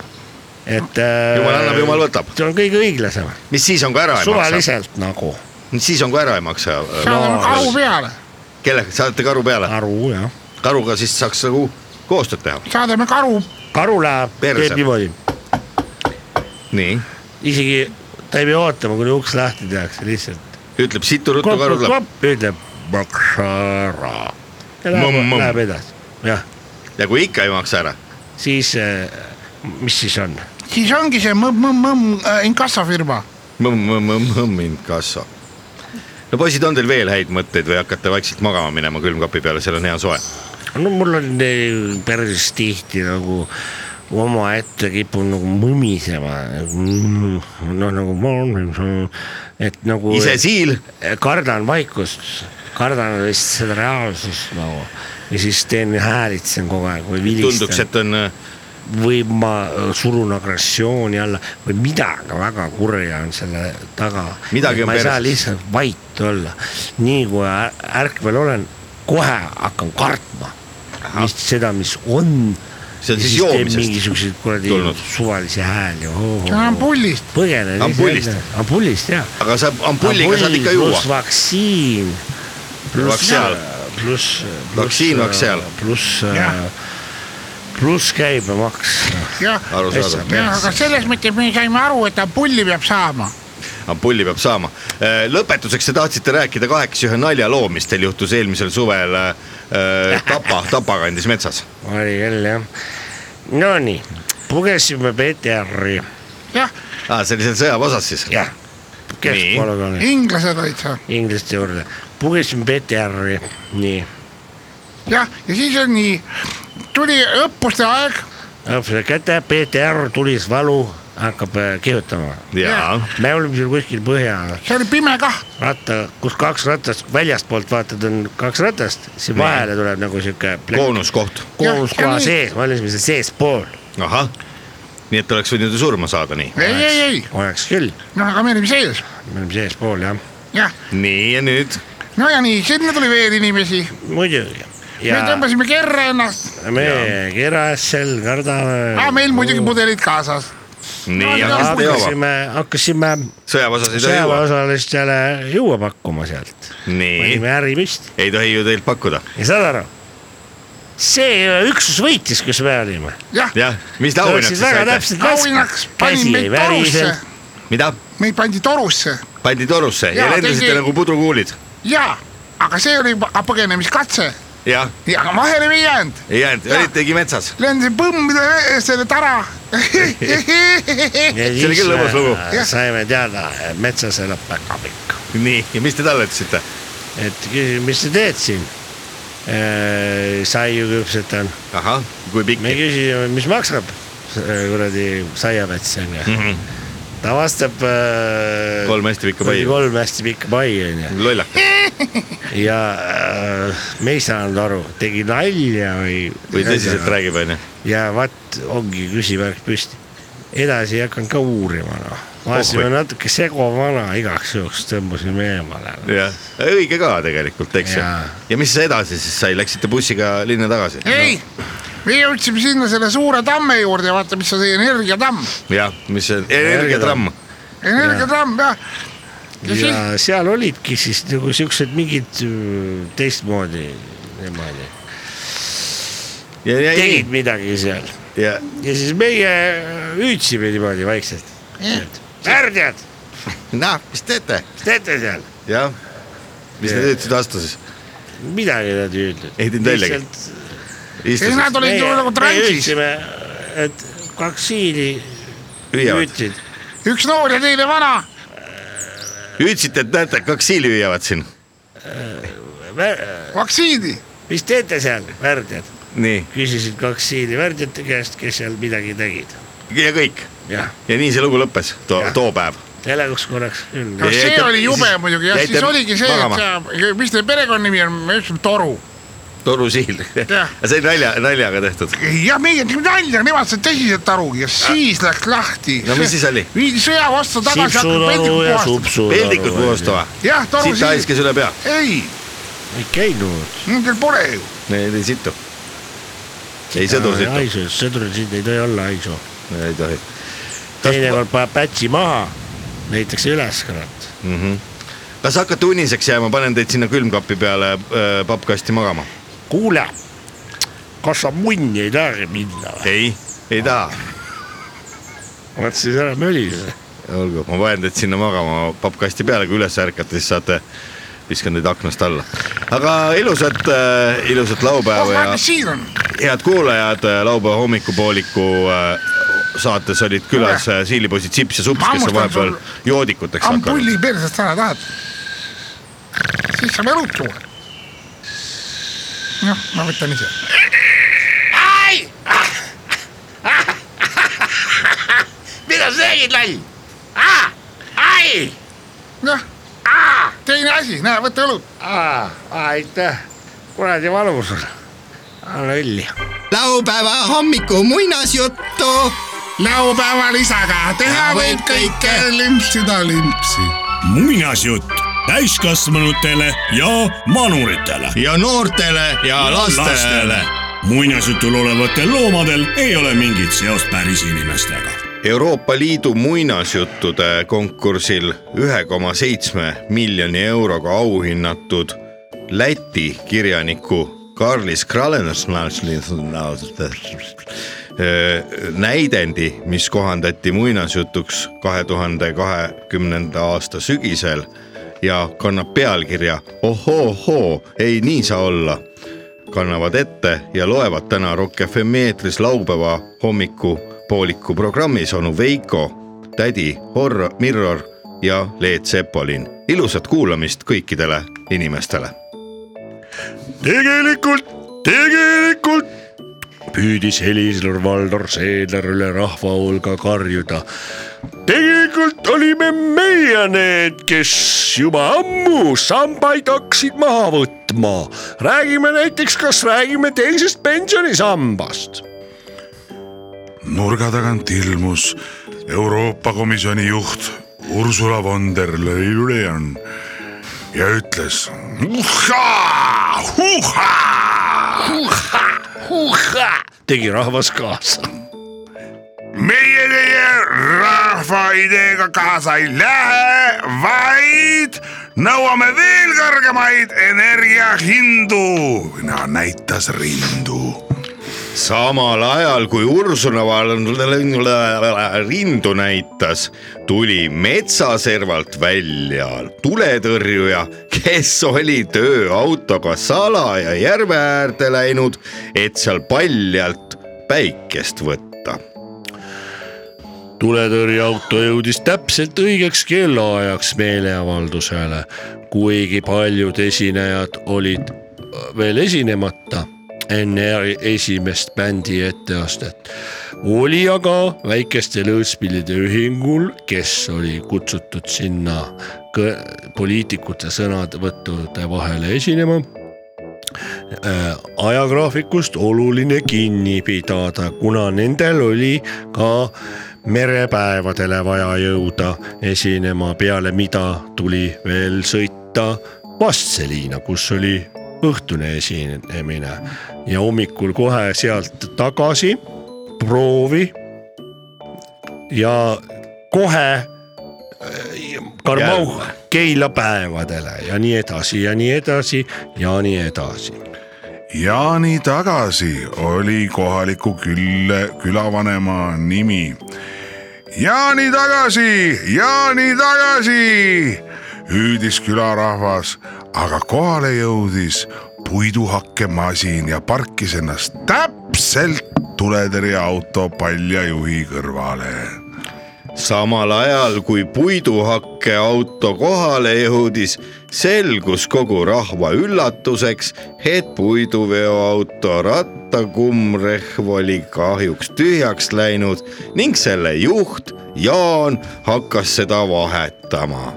et äh, .
Jumal annab, jumal võtab.
see on kõige õiglasem ,
mis siis on , kui ära ei maksa ?
suvaliselt nagu .
siis on , kui ära ei maksa .
saame karu peale ,
kellega , saate karu peale ,
karu jah ,
karuga siis saaks nagu koostööd teha .
saadame karu
karu läheb ,
Perse.
teeb niimoodi ,
nii ,
isegi ta ei pea ootama , kuni uks lahti tehakse , lihtsalt .
ütleb situ ruttu karu tuleb
ütleb maksa ära ja
Mõmm,
läheb ,
mõmm.
läheb edasi , jah ,
ja kui ikka ei maksa ära ,
siis äh, mis siis on ?
siis ongi see mõmm-mõmm-mõmm äh, inkassofirma .
mõmm-mõmm-mõmm inkasso . no poisid , on teil veel häid mõtteid või hakkate vaikselt magama minema külmkapi peale , seal on hea soe ?
no mul on eh, päris tihti nagu omaette kipun nagu mõmisema , noh nagu mõmm- et nagu
ise siil ,
kardan vaikust , kardan vist seda reaalsust nagu ja siis teen , häälitsen kogu aeg või
tunduks ,
vilistan
et on , äh,
või ma eh, surun agressiooni alla või midagi väga kurja on selle taga .
Midagi on
ma ei saa
perses.
lihtsalt vait olla , nii kui ä- ärkvel olen , kohe hakkan kartma mis seda , mis on .
See on siis joomisest
mingisuguseid kuradi
tulnud.
suvalisi hääli .
ampullist ,
põgene .
Ampullist. .
ampullist jah
aga sa ampulliga saad ikka juua
pluss . vaktsiin .
Vaksiaal.
pluss .
Vaktsiin, vaksiaal.
pluss äh,
Jah. ,
pluss käibemaks .
jah .
arusaadav ,
jah , aga selles mõttes me saime aru , et ampulli peab saama .
ampulli peab saama . lõpetuseks te tahtsite rääkida kahekesi ühe naljaloo , mis teil juhtus eelmisel suvel äh, Tapa , Tapa kandis metsas .
oli küll jah . Nonii , pugesime PTR-i ,
jah ,
aa , Ah, see oli seal sõjaväeosas siis ?
jah , keskpolügooni ,
inglased olid seal ,
ingliste juurde , pugesime PTR-i , nii ,
jah , ja siis on nii , tuli õppuste aeg ,
õppisime kätte , PTR tulis valu , hakkab äh, kihutama .
jaa ,
me olime seal kuskil põhja
see oli pime kah ,
ratta , kus kaks ratast , väljastpoolt vaatad , on kaks ratast , siis vahele tuleb nagu sihuke plekk-
koonuskoht ,
koonus
Jah, ja
koha
nii.
sees , me olime seal seespool ,
ahah . nii et oleks võinud ju surma saada nii .
ei , ei , ei ,
oleks küll ,
noh , aga me olime sees ,
me olime seespool jah ,
jah ,
nii ja nüüd
no ja nii , sinna tuli veel inimesi ,
muidugi .
me
ja
tõmbasime kerre ennast ,
me keras seal kardame .
aga meil muidugi pudelid kaasas ,
nii , aga siis te jõuab ,
hakkasime , hakkasime
sõjaväeosas ei tohi juua ,
sõjaväeosalistele juua pakkuma sealt ,
nii ,
panime ärimist
ei tohi ju teilt pakkuda ,
ja saad aru , see üksus võitis , kus me olime ,
jah ,
jah , mis te
oleksid
auhinnaks
väga
saite ,
täpselt
auhinnaks
lasknud ,
panin
käsi ei
meid torusse
värise ,,
mida ,
meid pandi torusse
pandi torusse ja
Jaa,
lendasite
tõsi.
nagu pudrukuulid ,
ja , aga see oli pa- põgenemiskatse ,
jah ,
ja aga vahele me ei jäänud ,
ei jäänud , olitegi metsas ,
lendasin põmmide eh, selle
<laughs>
tara
ja
See oli
siis
küll lõbus lugu.
me saime teada , et metsas elab päkapikk .
nii , ja mis te talle ütlesite ,
et küsin , mis sa teed siin ? saiu küpsetan ,
ahah , kui pikk
me küsisime , mis maksab see kuradi saiamets onju . ta vastab .
Mhm. kolm hästi pikka pai.
kolm hästi pikka pai onju
lollakas ,
ja äh, me ei saanud aru , tegi nalja või .
või tõsiselt . räägib , onju .
ja vat ongi küsimärk püsti . edasi ei hakanud ka uurima noh ,
Oh
vaatasin
või.
natuke segavana igaks juhuks tõmbasime eemale noh. no. .
jah , õige ka tegelikult , eks ju
Jaa. .
ja mis edasi siis sai , läksite bussiga linna tagasi ?
ei , me jõudsime sinna selle suure tamme juurde , vaata , mis on see energiatamm ,
jah , mis see energiatramm ,
energiatamm jah . ja siis
ja seal olidki siis nagu siuksed mingid öö, teistmoodi niimoodi ,
ja , ja ,
tegid midagi seal
ja ,
ja siis meie äh, hüüdsime niimoodi vaikselt . värdjad ,
noh , mis teete ,
mis teete seal ?
jah . mis te ütlesid vastu siis ,
midagi nad ei öelnud .
Ei teinud väljagi.
ei nad
istusite ,
olid ju nagu transis ,
hüüdsime , et kaks siili
hüüavad ,
hüüdsid ,
üks noor ja teine vana ,
hüüdsite , et näete , kaks siili hüüavad siin ,
vaktsiini ,
mis teete seal , värdjad ?
nii ,
küsisid kaks siili värdjate käest , kes seal midagi tegid .
ja kõik
jah ,
ja nii see lugu lõppes to, , too päev .
telekuks korraks küll .
no
Ja
see
jäite-
oli jube
siis-
muidugi jah ,
jäite
siis oligi see ,
magama.
et see , mis teie perekonnanimi on , me ütlesime toru ,
torusiil , <laughs>
Jah.
see oli nalja , naljaga tehtud ,
jah , meie tegime nalja , nemad said tõsiselt aru ja siis läks lahti .
No mis siis oli?
viidi sõja vastu tagasi , hakkas
sipsutoru
peldikud
ja
puhastama ,
peldikud
supsutoru .
puhastama ,
jah , toru
siit
siis ,
haiskes üle pea ,
ei ,
ei käinud .
nendel pole ju ,
ei ei situ , ei sõdur situ .
haisu , sõduril siin ei tohi olla haisu .
ei tohi .
teinekord
paneb pätsi maha , leitakse üles , kurat .
kas hakkate uniseks jääma , panen teid sinna külmkapi peale äh, pappkasti magama .
kuule , kas sa munni ei taha minna või ?
ei , ei taha .
oled siis ära mölisenud .
olgu , ma panen teid sinna magama pappkasti peale , kui üles ärkate , siis saate , viskan teid aknast alla . aga ilusat äh, , ilusat laupäeva ja
mis siin on ?
head kuulajad , laupäeva hommikupooliku äh, saates olid külas äh, siilipoisid Sips ja Sups , kes on
Hammustan
vahepeal joodikuteks hakanud .
ampulli persest ära tahad ? siis saab elud tuua . noh , ma võtan ise .
mida sa tegid , loll ? ai ,
noh , teine asi , näe , võta õlut .
aitäh , kuradi valus on . anna õlli .
laupäeva hommiku muinasjuttu
laupäeval isaga teha võib kõike , limpsida limpsi .
muinasjutt täiskasvanutele ja manuritele .
ja noortele ja lastele .
muinasjutul olevatel loomadel ei ole mingit seost päris inimestega .
Euroopa Liidu muinasjuttude konkursil ühe koma seitsme miljoni euroga auhinnatud Läti kirjaniku Karlis Kralenašnasli näidendi , mis kohandati muinasjutuks kahe tuhande kahekümnenda aasta sügisel ja kannab pealkirja Ohoo-hoo , ei nii saa olla kannavad ette ja loevad täna Rock FM-i eetris laupäeva hommikupooliku programmis onu Veiko , tädi Horror Mirror ja Leet Sepolin . ilusat kuulamist kõikidele inimestele .
tegelikult , tegelikult püüdis Helis-Valdor Seeder üle rahva hulga karjuda . tegelikult olime meie need , kes juba ammu sambaid hakkasid maha võtma . räägime näiteks , kas räägime teisest pensionisambast
nurga tagant ilmus Euroopa Komisjoni juht Ursula von der Leyen ja ütles .
tegi rahvas kaasa .
meie teie rahva ideega kaasa ei lähe , vaid nõuame veel kõrgemaid energiahindu . no näitas rindu
samal ajal kui Ursula Val- rindu näitas , tuli metsaservalt välja tuletõrjuja , kes oli tööautoga salaja järve äärde läinud , et seal paljalt päikest võtta
tuletõrjeauto jõudis täpselt õigeks kellaajaks meeleavaldusele , kuigi paljud esinejad olid äh, veel esinemata enne eri- esimest bändi etteastet . oli aga väikeste lõõtspillide ühingul , kes oli kutsutud sinna kõ- poliitikute sõnavõttude vahele esinema äh, ajagraafikust oluline kinni pidada , kuna nendel oli ka merepäevadele vaja jõuda esinema , peale mida tuli veel sõita Vastseliina , kus oli õhtune esinemine ja hommikul kohe sealt tagasi proovi . ja kohe äh, Karmau Keila päevadele ja nii edasi ja nii edasi ja nii edasi
Jaani tagasi oli kohaliku külle , külavanema nimi . Jaani tagasi , Jaani tagasi , hüüdis külarahvas , aga kohale jõudis puiduhakkemasin ja parkis ennast täpselt tuletõrjeauto paljajuhi kõrvale .
samal ajal kui puiduhakkeauto kohale jõudis , selgus kogu rahva üllatuseks , et puiduveoauto rattakummrehv oli kahjuks tühjaks läinud ning selle juht Jaan hakkas seda vahetama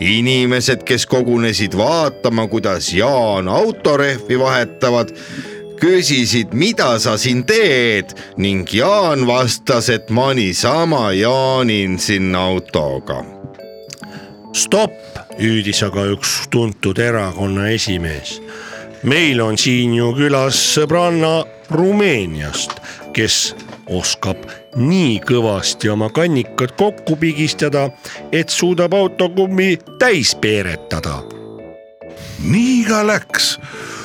inimesed , kes kogunesid vaatama , kuidas Jaan autorehvi vahetavad , küsisid , mida sa siin teed ning Jaan vastas , et ma niisama jaanin sinna autoga .
stopp , hüüdis aga üks tuntud erakonna esimees . meil on siin ju külas sõbranna Rumeeniast , kes oskab nii kõvasti oma kannikat kokku pigistada , et suudab autokummi täis peeretada .
nii ka läks ,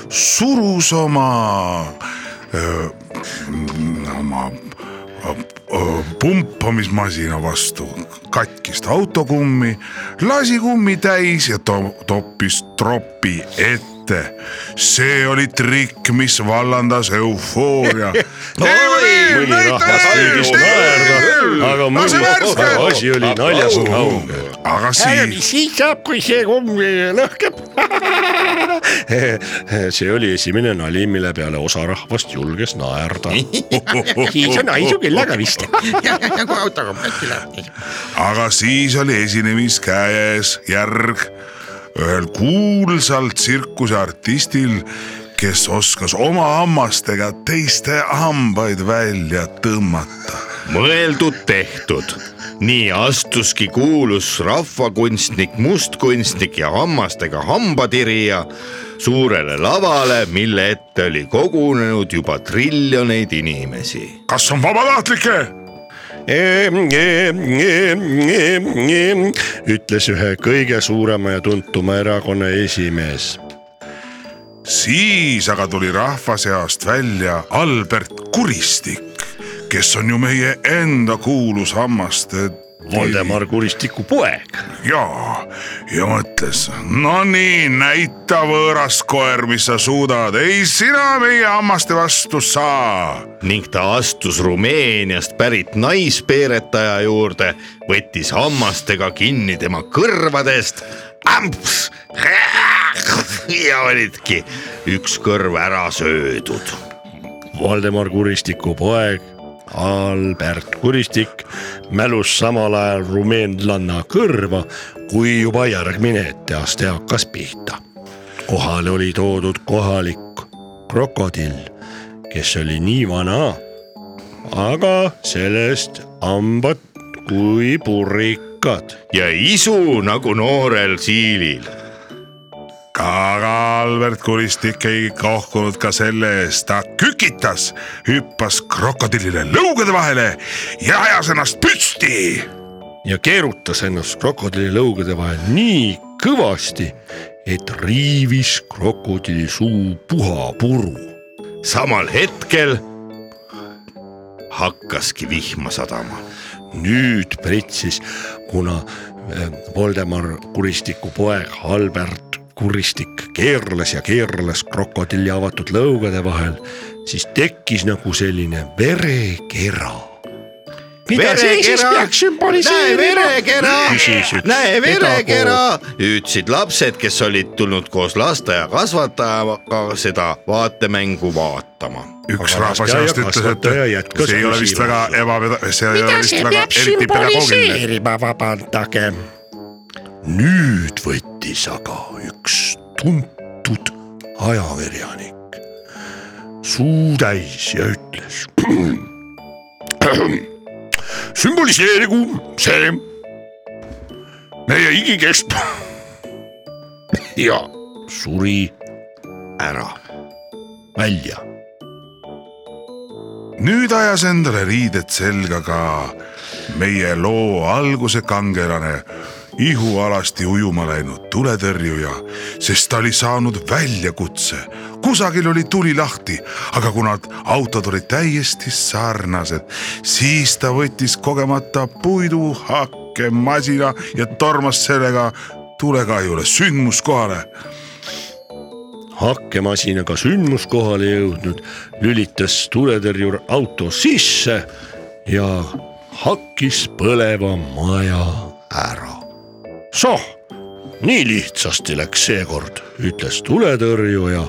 surus oma , oma öö, öö, pumpamismasina vastu katkist autokummi , lasi kummi täis ja to- toppis tropi ette . see oli trikk , mis vallandas eufooria .
mõni rahvas kõigis naerda , aga
Lase
mõni
värske!
asi oli naljast kaugel .
aga siis ,
siis saab , kui see kumm lõhkeb . <laughs> see oli esimene nali , mille peale osa rahvast julges naerda . <laughs> siis on aisu küll , aga vist .
aga siis oli esinemiskäes järg ühel kuulsal tsirkuseartistil , kes oskas oma hammastega teiste hambaid välja tõmmata .
mõeldud-tehtud . nii astuski kuulus rahvakunstnik , mustkunstnik ja hammastega hambatirija suurele lavale , mille ette oli kogunenud juba triljoneid inimesi .
kas on vabatahtlikke ?
<laughs> ütles ühe kõige suurema ja tuntuma erakonna esimees .
siis aga tuli rahva seast välja Albert Kuristik , kes on ju meie enda kuulus hammaste .
Voldemar Kuristiku poeg .
jaa , ja mõtles , no nii , näita võõras koer , mis sa suudad , ei sina meie hammaste vastu saa .
ning ta astus Rumeeniast pärit naispeeretaja juurde , võttis hammastega kinni tema kõrvadest . ja olidki üks kõrv ära söödud
Voldemar Kuristiku poeg Albert Kuristik mälus samal ajal rumeenlanna kõrva , kui juba järgmine etteaste hakkas pihta . kohale oli toodud kohalik krokodill , kes oli nii vana , aga sellest hambad kui purikad .
ja isu nagu noorel siilil .
aga Albert Kuristik ei kohkunud ka selle eest , ta kükitas , hüppas krokodillile lõugade vahele ja ajas ennast püsti
ja keerutas ennast krokodilli lõugade vahel nii kõvasti , et riivis krokodilli suu puhapuru .
samal hetkel hakkaski vihma sadama .
nüüd pritsis , kuna eh, Voldemar Kuristiku poeg Albert Kuristik keerles ja keerles krokodilli avatud lõugade vahel , siis tekkis nagu selline verekera . mida see siis peaks
näe
sümboliseerima ?
verekera
Küsis üks ,
näe verekera , hüüdsid lapsed , kes olid tulnud koos lasteaia kasvatajaga seda vaatemängu vaatama .
üks
Aga
rahvaseast
lasteaia
ütles , et
kasvataja jätkas
see ei ole vist väga
küsima.
ebapeda- , see ei ole vist väga eriti pedagoogiline .
reageerima , vabandage . nüüd võttis aga üks tuntud ajakirjanik suu täis ja ütles . <clears throat> sümboliseerigu see meie igikest <laughs> ja suri ära välja
nüüd ajas endale riided selga ka meie loo alguse kangelane , ihualasti ujuma läinud tuletõrjuja , sest ta oli saanud väljakutse . kusagil oli tuli lahti , aga kuna autod olid täiesti sarnased , siis ta võttis kogemata puiduhakkemasina ja tormas sellega tulekahjule sündmuskohale
hakkemasinaga sündmuskohale jõudnud , lülitas tuletõrjur auto sisse ja hakkis põleva maja ära . soh , nii lihtsasti läks seekord , ütles tuletõrjuja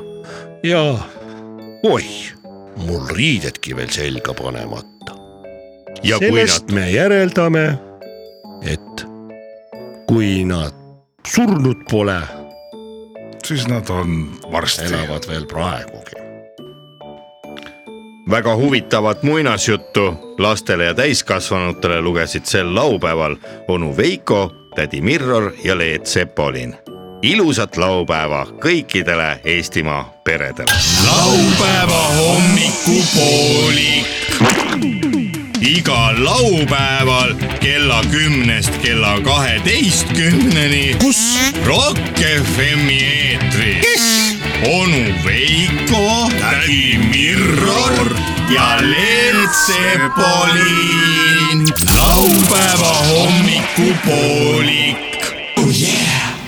ja oih , mul riidedki veel selga panemata .
ja kui nad
sellest me järeldame , et kui nad surnud pole ,
siis nad on varsti .
elavad veel praegugi .
väga huvitavat muinasjuttu lastele ja täiskasvanutele lugesid sel laupäeval onu Veiko , tädi Mirror ja Leet Sepolin . ilusat laupäeva kõikidele Eestimaa peredele .
laupäeva hommikupoolik . igal laupäeval kella kümnest kella kaheteistkümneni . kus ? Rock FM-i eetris . onu Veiko , tädi Mirror ja Leelt Sepolin . laupäeva hommikupoolik .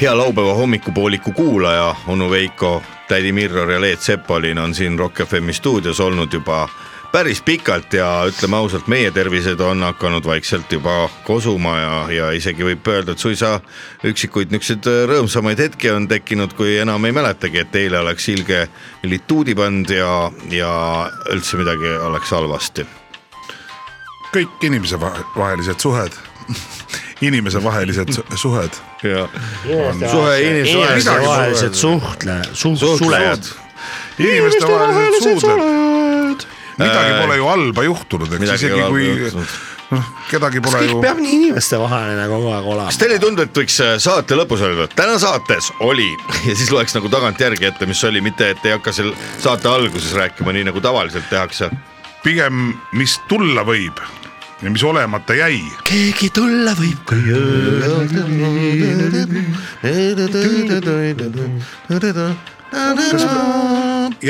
hea laupäeva hommikupooliku kuulaja , onu Veiko , tädi Mirror ja Leet Sepolin on siin Rock FM-i stuudios olnud juba päris pikalt ja ütleme ausalt , meie tervised on hakanud vaikselt juba kosuma ja , ja isegi võib öelda , et suisa üksikuid niisuguseid rõõmsamaid hetki on tekkinud , kui enam ei mäletagi , et eile oleks ilge lituudi pannud ja , ja üldse midagi oleks halvasti .
kõik inimesevahelised suhed , inimesevahelised su- suhed .
ja suhe inimese vahel .
inimestevahelised suhtle ,
suhtlejad
suhtlejad ..
inimestevahelised suudled . midagi pole ju halba juhtunud , eks
Äh. midagi ei
isegi
ole
kui
halba juhtunud.
noh , kedagi pole
kõik
ju .
peab nii inimestevaheline kogu aeg
kas
olema .
teile ei tundu , et võiks äh, saate lõpus öelda , et täna saates oli <laughs> ja siis loeks nagu tagantjärgi ette , mis oli , mitte et ei hakka seal saate alguses rääkima , nii nagu tavaliselt tehakse .
pigem , mis tulla võib ja mis olemata jäi .
keegi tulla võib kui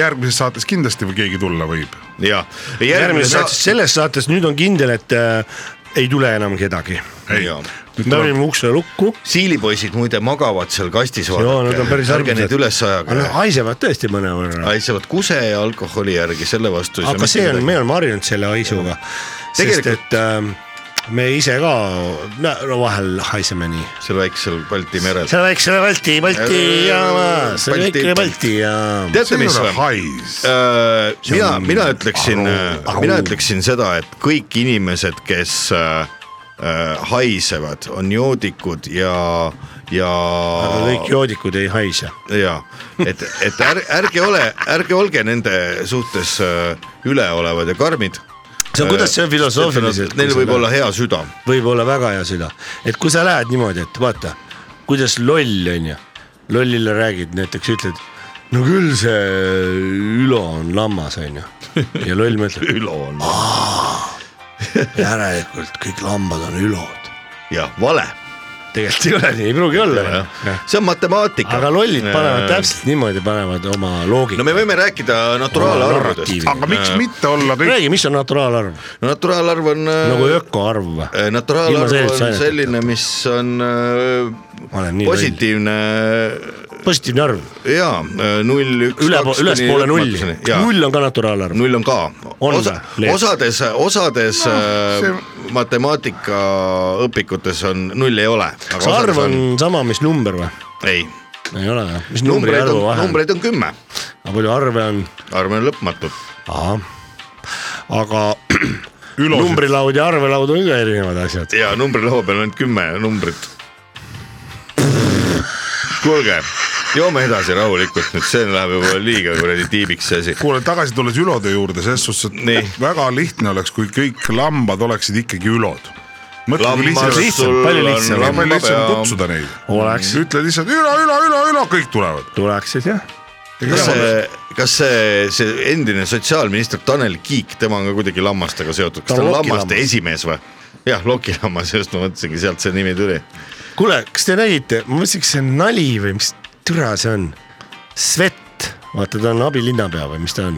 järgmises saates kindlasti või keegi tulla võib .
ja
järgmises
järgmine
saates ,
saate .
selles saates nüüd on kindel , et äh, ei tule enam kedagi .
ei
Jaa. ,
nüüd
me
tuleb ,
olime ukse lukku .
siilipoisid muide magavad seal kastis ,
jaa , nad on päris
ärge neid üles
aga nad
ajage .
haisevad tõesti mõnevõrra .
haisevad kuse ja alkoholi järgi , selle vastu ei saa
aga
mitte
see on ,
midagi.
me oleme harjunud selle haisuga . sest
Tegelikult-
et äh, me ise ka no, vahel haiseme nii .
seal väiksel Balti merel .
see väiksele Balti , Balti jaama , see
Balti-
väikene Balti jaam .
teate ,
see ei
mis
ole
või ?
hais .
Äh,
See
mina ,
on
mina ütleksin äh,
aru- , aru-
mina ütleksin seda , et kõik inimesed , kes äh, äh, haisevad , on joodikud ja , ja ,
aga kõik joodikud ei haise .
ja et , et är, ärge ole , ärge olge nende suhtes äh, üleolevad ja karmid .
see on , kuidas Äh, see on filosoofiliselt ?
Neil võib olla hea süda .
võib olla väga hea süda , et kui sa lähed niimoodi , et vaata , kuidas loll on ju , lollile räägid näiteks , ütled , no küll see Ülo on lammas on ju ja loll mõtleb ,
Ülo on
järelikult kõik lambad on ülod .
jah , vale ,
tegelikult ei ole nii , ei pruugi olla .
see on matemaatika .
aga lollid panevad . täpselt niimoodi , panevad oma
no
loogika .
me võime rääkida naturaalarvudest .
Narratiivi.
aga miks mitte olla kõik ,
räägi , mis on naturaalarv ,
naturaalarv on äh,
nagu ökoarv või ?
Eh,
Ilma
naturaalarv
sellise
on
aineteta.
selline , mis on äh,
ma olen nii loll .
positiivne
positiivne arv ,
ja null , üks ,
üle , ülespoole nulli ,
null .
null on ka naturaalarv .
null on ka
On
Osa,
või, Leet?
osades , osades äh, no, see...
see-
matemaatikaõpikutes on null ei ole .
kas arv on sama , mis number või ?
ei ,
ei ole jah , mis numbri ja
numbreid
arvu
on ,
vahe on ?
numbreid on kümme ,
aga palju arve on ?
arv on lõpmatu .
aga
Ülosid.
numbrilaud ja arvelaud on ka erinevad asjad .
ja numbrilaua peal on ainult kümme numbrit . kuulge , joome edasi rahulikult nüüd , see läheb juba liiga kuradi tiibiks see asi .
kuule tagasi tulles ülode juurde , selles suhtes , et
Nii.
väga lihtne oleks , kui kõik lambad oleksid ikkagi ülod . mõtle , kui lihtsalt
lihtsam, palju lihtsam.
on
palju lihtsam
lambapea-
kutsuda neid .
Oleks.
ütle lihtsalt ülo , ülo , ülo , ülo , kõik tulevad .
tuleksid jah .
kas see , kas see , see endine sotsiaalminister Tanel Kiik , tema on ka kuidagi lammastega seotud , kas
Ta
ta
on
on
Loki
lammaste
lammas.
esimees või ? jah , Loki lammas , just ma mõtlesingi , sealt see nimi tuli .
kuule , kas te nägite , ma mõtlesin , kas see on nali või mis türa see on ? Svet , vaata ta on abilinnapea või mis ta on ?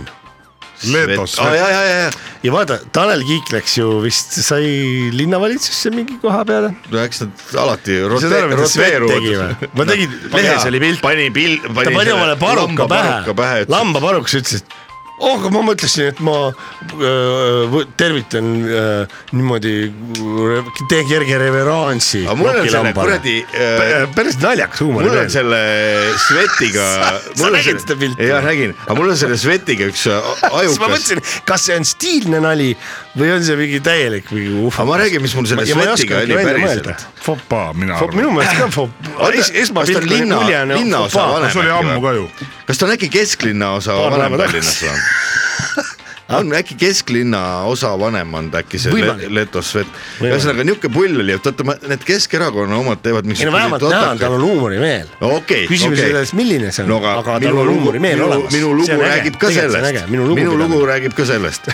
Leetos ,
aa ja , ja , ja , ja ,
ja vaata , Tanel Kiik läks ju vist , sai linnavalitsusse mingi koha peale .
eks nad alati
saad
rote-
aru, mida Svet tegi või
<laughs> roteeruvad ?.
ma tegin , lehes oli pilt .
pani pilt ,
ta pani omale paruka pähe ,
Lamb...
lambaparuks ütles , et oh , aga ma mõtlesin , et ma öö, võ- tervitan öö, niimoodi , teen kerge reveraansi .
aga mul on selle kuradi äh,
päris naljakas huumor .
mul on selle Svetiga
Sa- <laughs> sa nägid seda pilti?
jah , nägin , aga mul on selle Svetiga üks äh,
<laughs> siis ma
ajukas
mõtlesin , kas see on stiilne nali või on see mingi täielik mingi uhva .
aga ma räägin , mis mul selle Svetiga oli päriselt .
fopaa mina
minu
arvan .
meelest ka fop-
Oota, , kas
esmapilk
ta
oli
linna-
mulje ,
linnaosa vanem?
see oli ammu ka ju .
kas ta on äkki kesklinna osa
Paar päeva
vanem
tagasi.
Tallinnas või ? <laughs> on äkki kesklinna osa vanem on ta äkki see
Võimalik.
Le- Leto Svet ,
Võimalik.
ühesõnaga niisugune pull oli , et vaata ma- need Keskerakonna omad teevad
ei no vähemalt näha , tal on huumorimeel .
okei ,
küsimus ei
okei .
ole selles , milline see on
no
no, ,
aga
aga
minu
tal on
lugu ,
huumorimeel
minu
olemas .
minu lugu räägib ka
Tegelikult see on äge.
sellest ,
minu lugu, <laughs>
minu lugu räägib ka sellest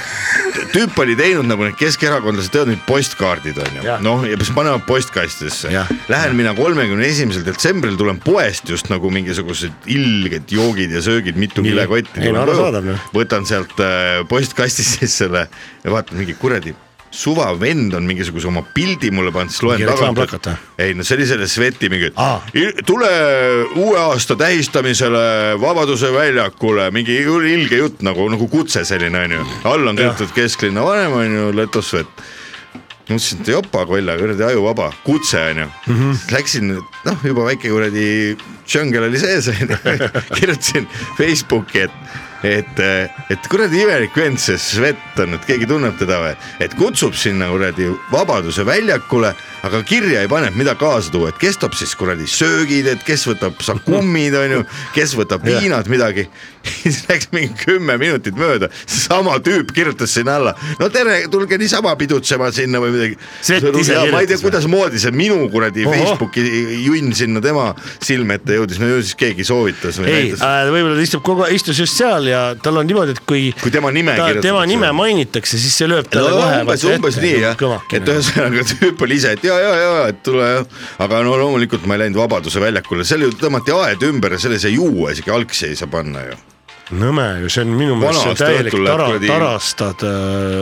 tüüp oli teinud nagu need keskerakondlased teevad neid postkaardid onju
Jah. ,
noh ja siis panevad postkastidesse
Jah. .
Lähen mina kolmekümne esimesel detsembril tulen poest just nagu mingisugused ilged joogid ja söögid , mitu
Nii.
kilekotti
Ei, no
tulen
arusaadav,
koju
noh. ,
võtan sealt äh, postkastist <laughs> siis selle ja vaatan mingi kuradi suva vend on mingisuguse oma pildi mulle pannud , siis loen
Mingi reklaamplakat või?
ei no see oli selle Sveti mingi
Aa. ,
tule uue aasta tähistamisele Vabaduse väljakule , mingi ilge jutt nagu , nagu kutse selline onju , all on kirjutatud kesklinna vanem onju , Leto Svet . mõtlesin , et jopa kolla , kuradi ajuvaba , kutse onju mm . -hmm. Läksin , noh juba väike kuradi džungel oli sees onju , <laughs> kirjutasin Facebooki , et et , et kuradi imelik vend see Svet on , et keegi tunneb teda või , et kutsub sinna kuradi Vabaduse väljakule , aga kirja ei pane , et mida kaasa tuua , et kes toob siis kuradi söögid , et kes võtab sakummid onju , kes võtab viinad midagi . <laughs> siis läks mingi kümme minutit mööda , seesama tüüp kirjutas sinna alla , no tere , tulge niisama pidutsema sinna või midagi .
Svet ise
ma ei tea ,
kirjutas või?
kuidasmoodi see minu kuradi
Ohoh.
Facebooki junn sinna tema silme ette jõudis , no ju siis keegi soovitas või
ei , äh,
näitas ,
võib-olla ta istub kogu , istus just seal ja tal on niimoodi , et kui
kui tema nime
ta,
kirjutatakse .
tema nime mainitakse , siis see lööb
no
talle kohe
umbes ,
vaata
umbes
ette.
nii jah , et
kõvakene .
ühesõnaga tüüp oli ise , et ja , ja , ja , et tule jah , aga no loomulikult ma ei läinud Vabaduse väljakule , seal ju tõmmati aed ümber ja seal ei saa juua , isegi algsi ei saa panna ju .
nõme ju , see on minu meelest see
aasta
täielik
õhtul läheb
tara ,
kuradi-
tarastad ,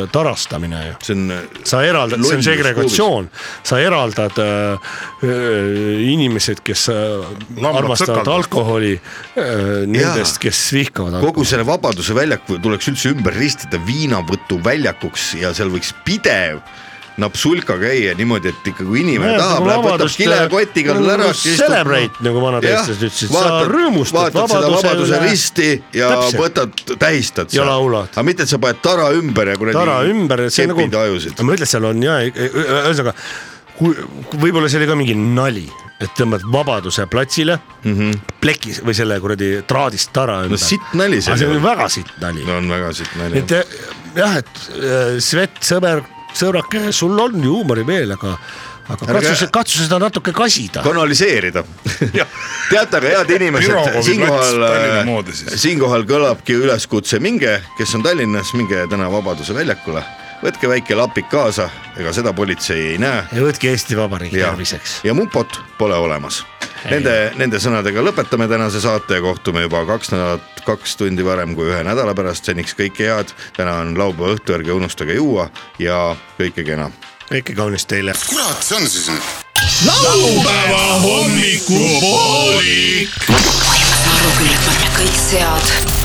tarastamine ju .
see on ,
sa eraldad , see on
Lollus
segregatsioon , sa eraldad äh, äh, inimesed , kes äh, armastavad
sõkaldust.
alkoholi äh, nendest , kes vihkavad
kogu
alkoholi .
selle Vabaduse väljaku tuleks üldse ümber ristida viinavõtu väljakuks ja seal võiks pidev napsulka käia niimoodi , et ikka kui inimene
nagu
tahab , läheb võtab kilekotiga ära .
äh, Celebrate nagu vanad eestlased ütlesid , sa rõõmustad
vaatad seda vabaduse risti ja
Täpselt.
Täpselt. võtad , tähistad
Ja laulad.
aga mitte , et sa paned tara ümber ja kuradi
tara ümber , see on nagu ,
kepid ajusid .
ma ütlen , seal on ja ühesõnaga , kui kui- võib-olla see oli ka mingi nali , et tõmbad Vabaduse platsile mm -hmm. plekis või selle kuradi traadist tara ümber .
Mhm. sitt nali see
see . see
oli.
oli väga sitt nali no. .
no on väga siit nali
et . eh, jah , et eh, Svet , sõber , sõbrake , sul on huumorimeel , aga , aga
Ärge-
katsu , katsu seda natuke kasida .
kanaliseerida
Jah. .
teate , aga head inimesed
Pirogovi ,
siinkohal äh,
plats Tallinna moodi , siis.
siinkohal kõlabki üleskutse , minge , kes on Tallinnas , minge täna Vabaduse väljakule , võtke väike lapik kaasa , ega seda politsei ei näe .
ja võtke Eesti Vabariigi
ja
terviseks .,
ja mupot pole olemas . Nende , nende sõnadega lõpetame tänase saate ja kohtume juba kaks nädalat , kaks tundi varem kui ühe nädala pärast , seniks kõike head . täna on laupäeva õhtu , ärge unustage juua ja kõike kena
kõike kaunist teile .
kurat see on siis nüüd ?
laupäeva hommikupooli .
kõik sead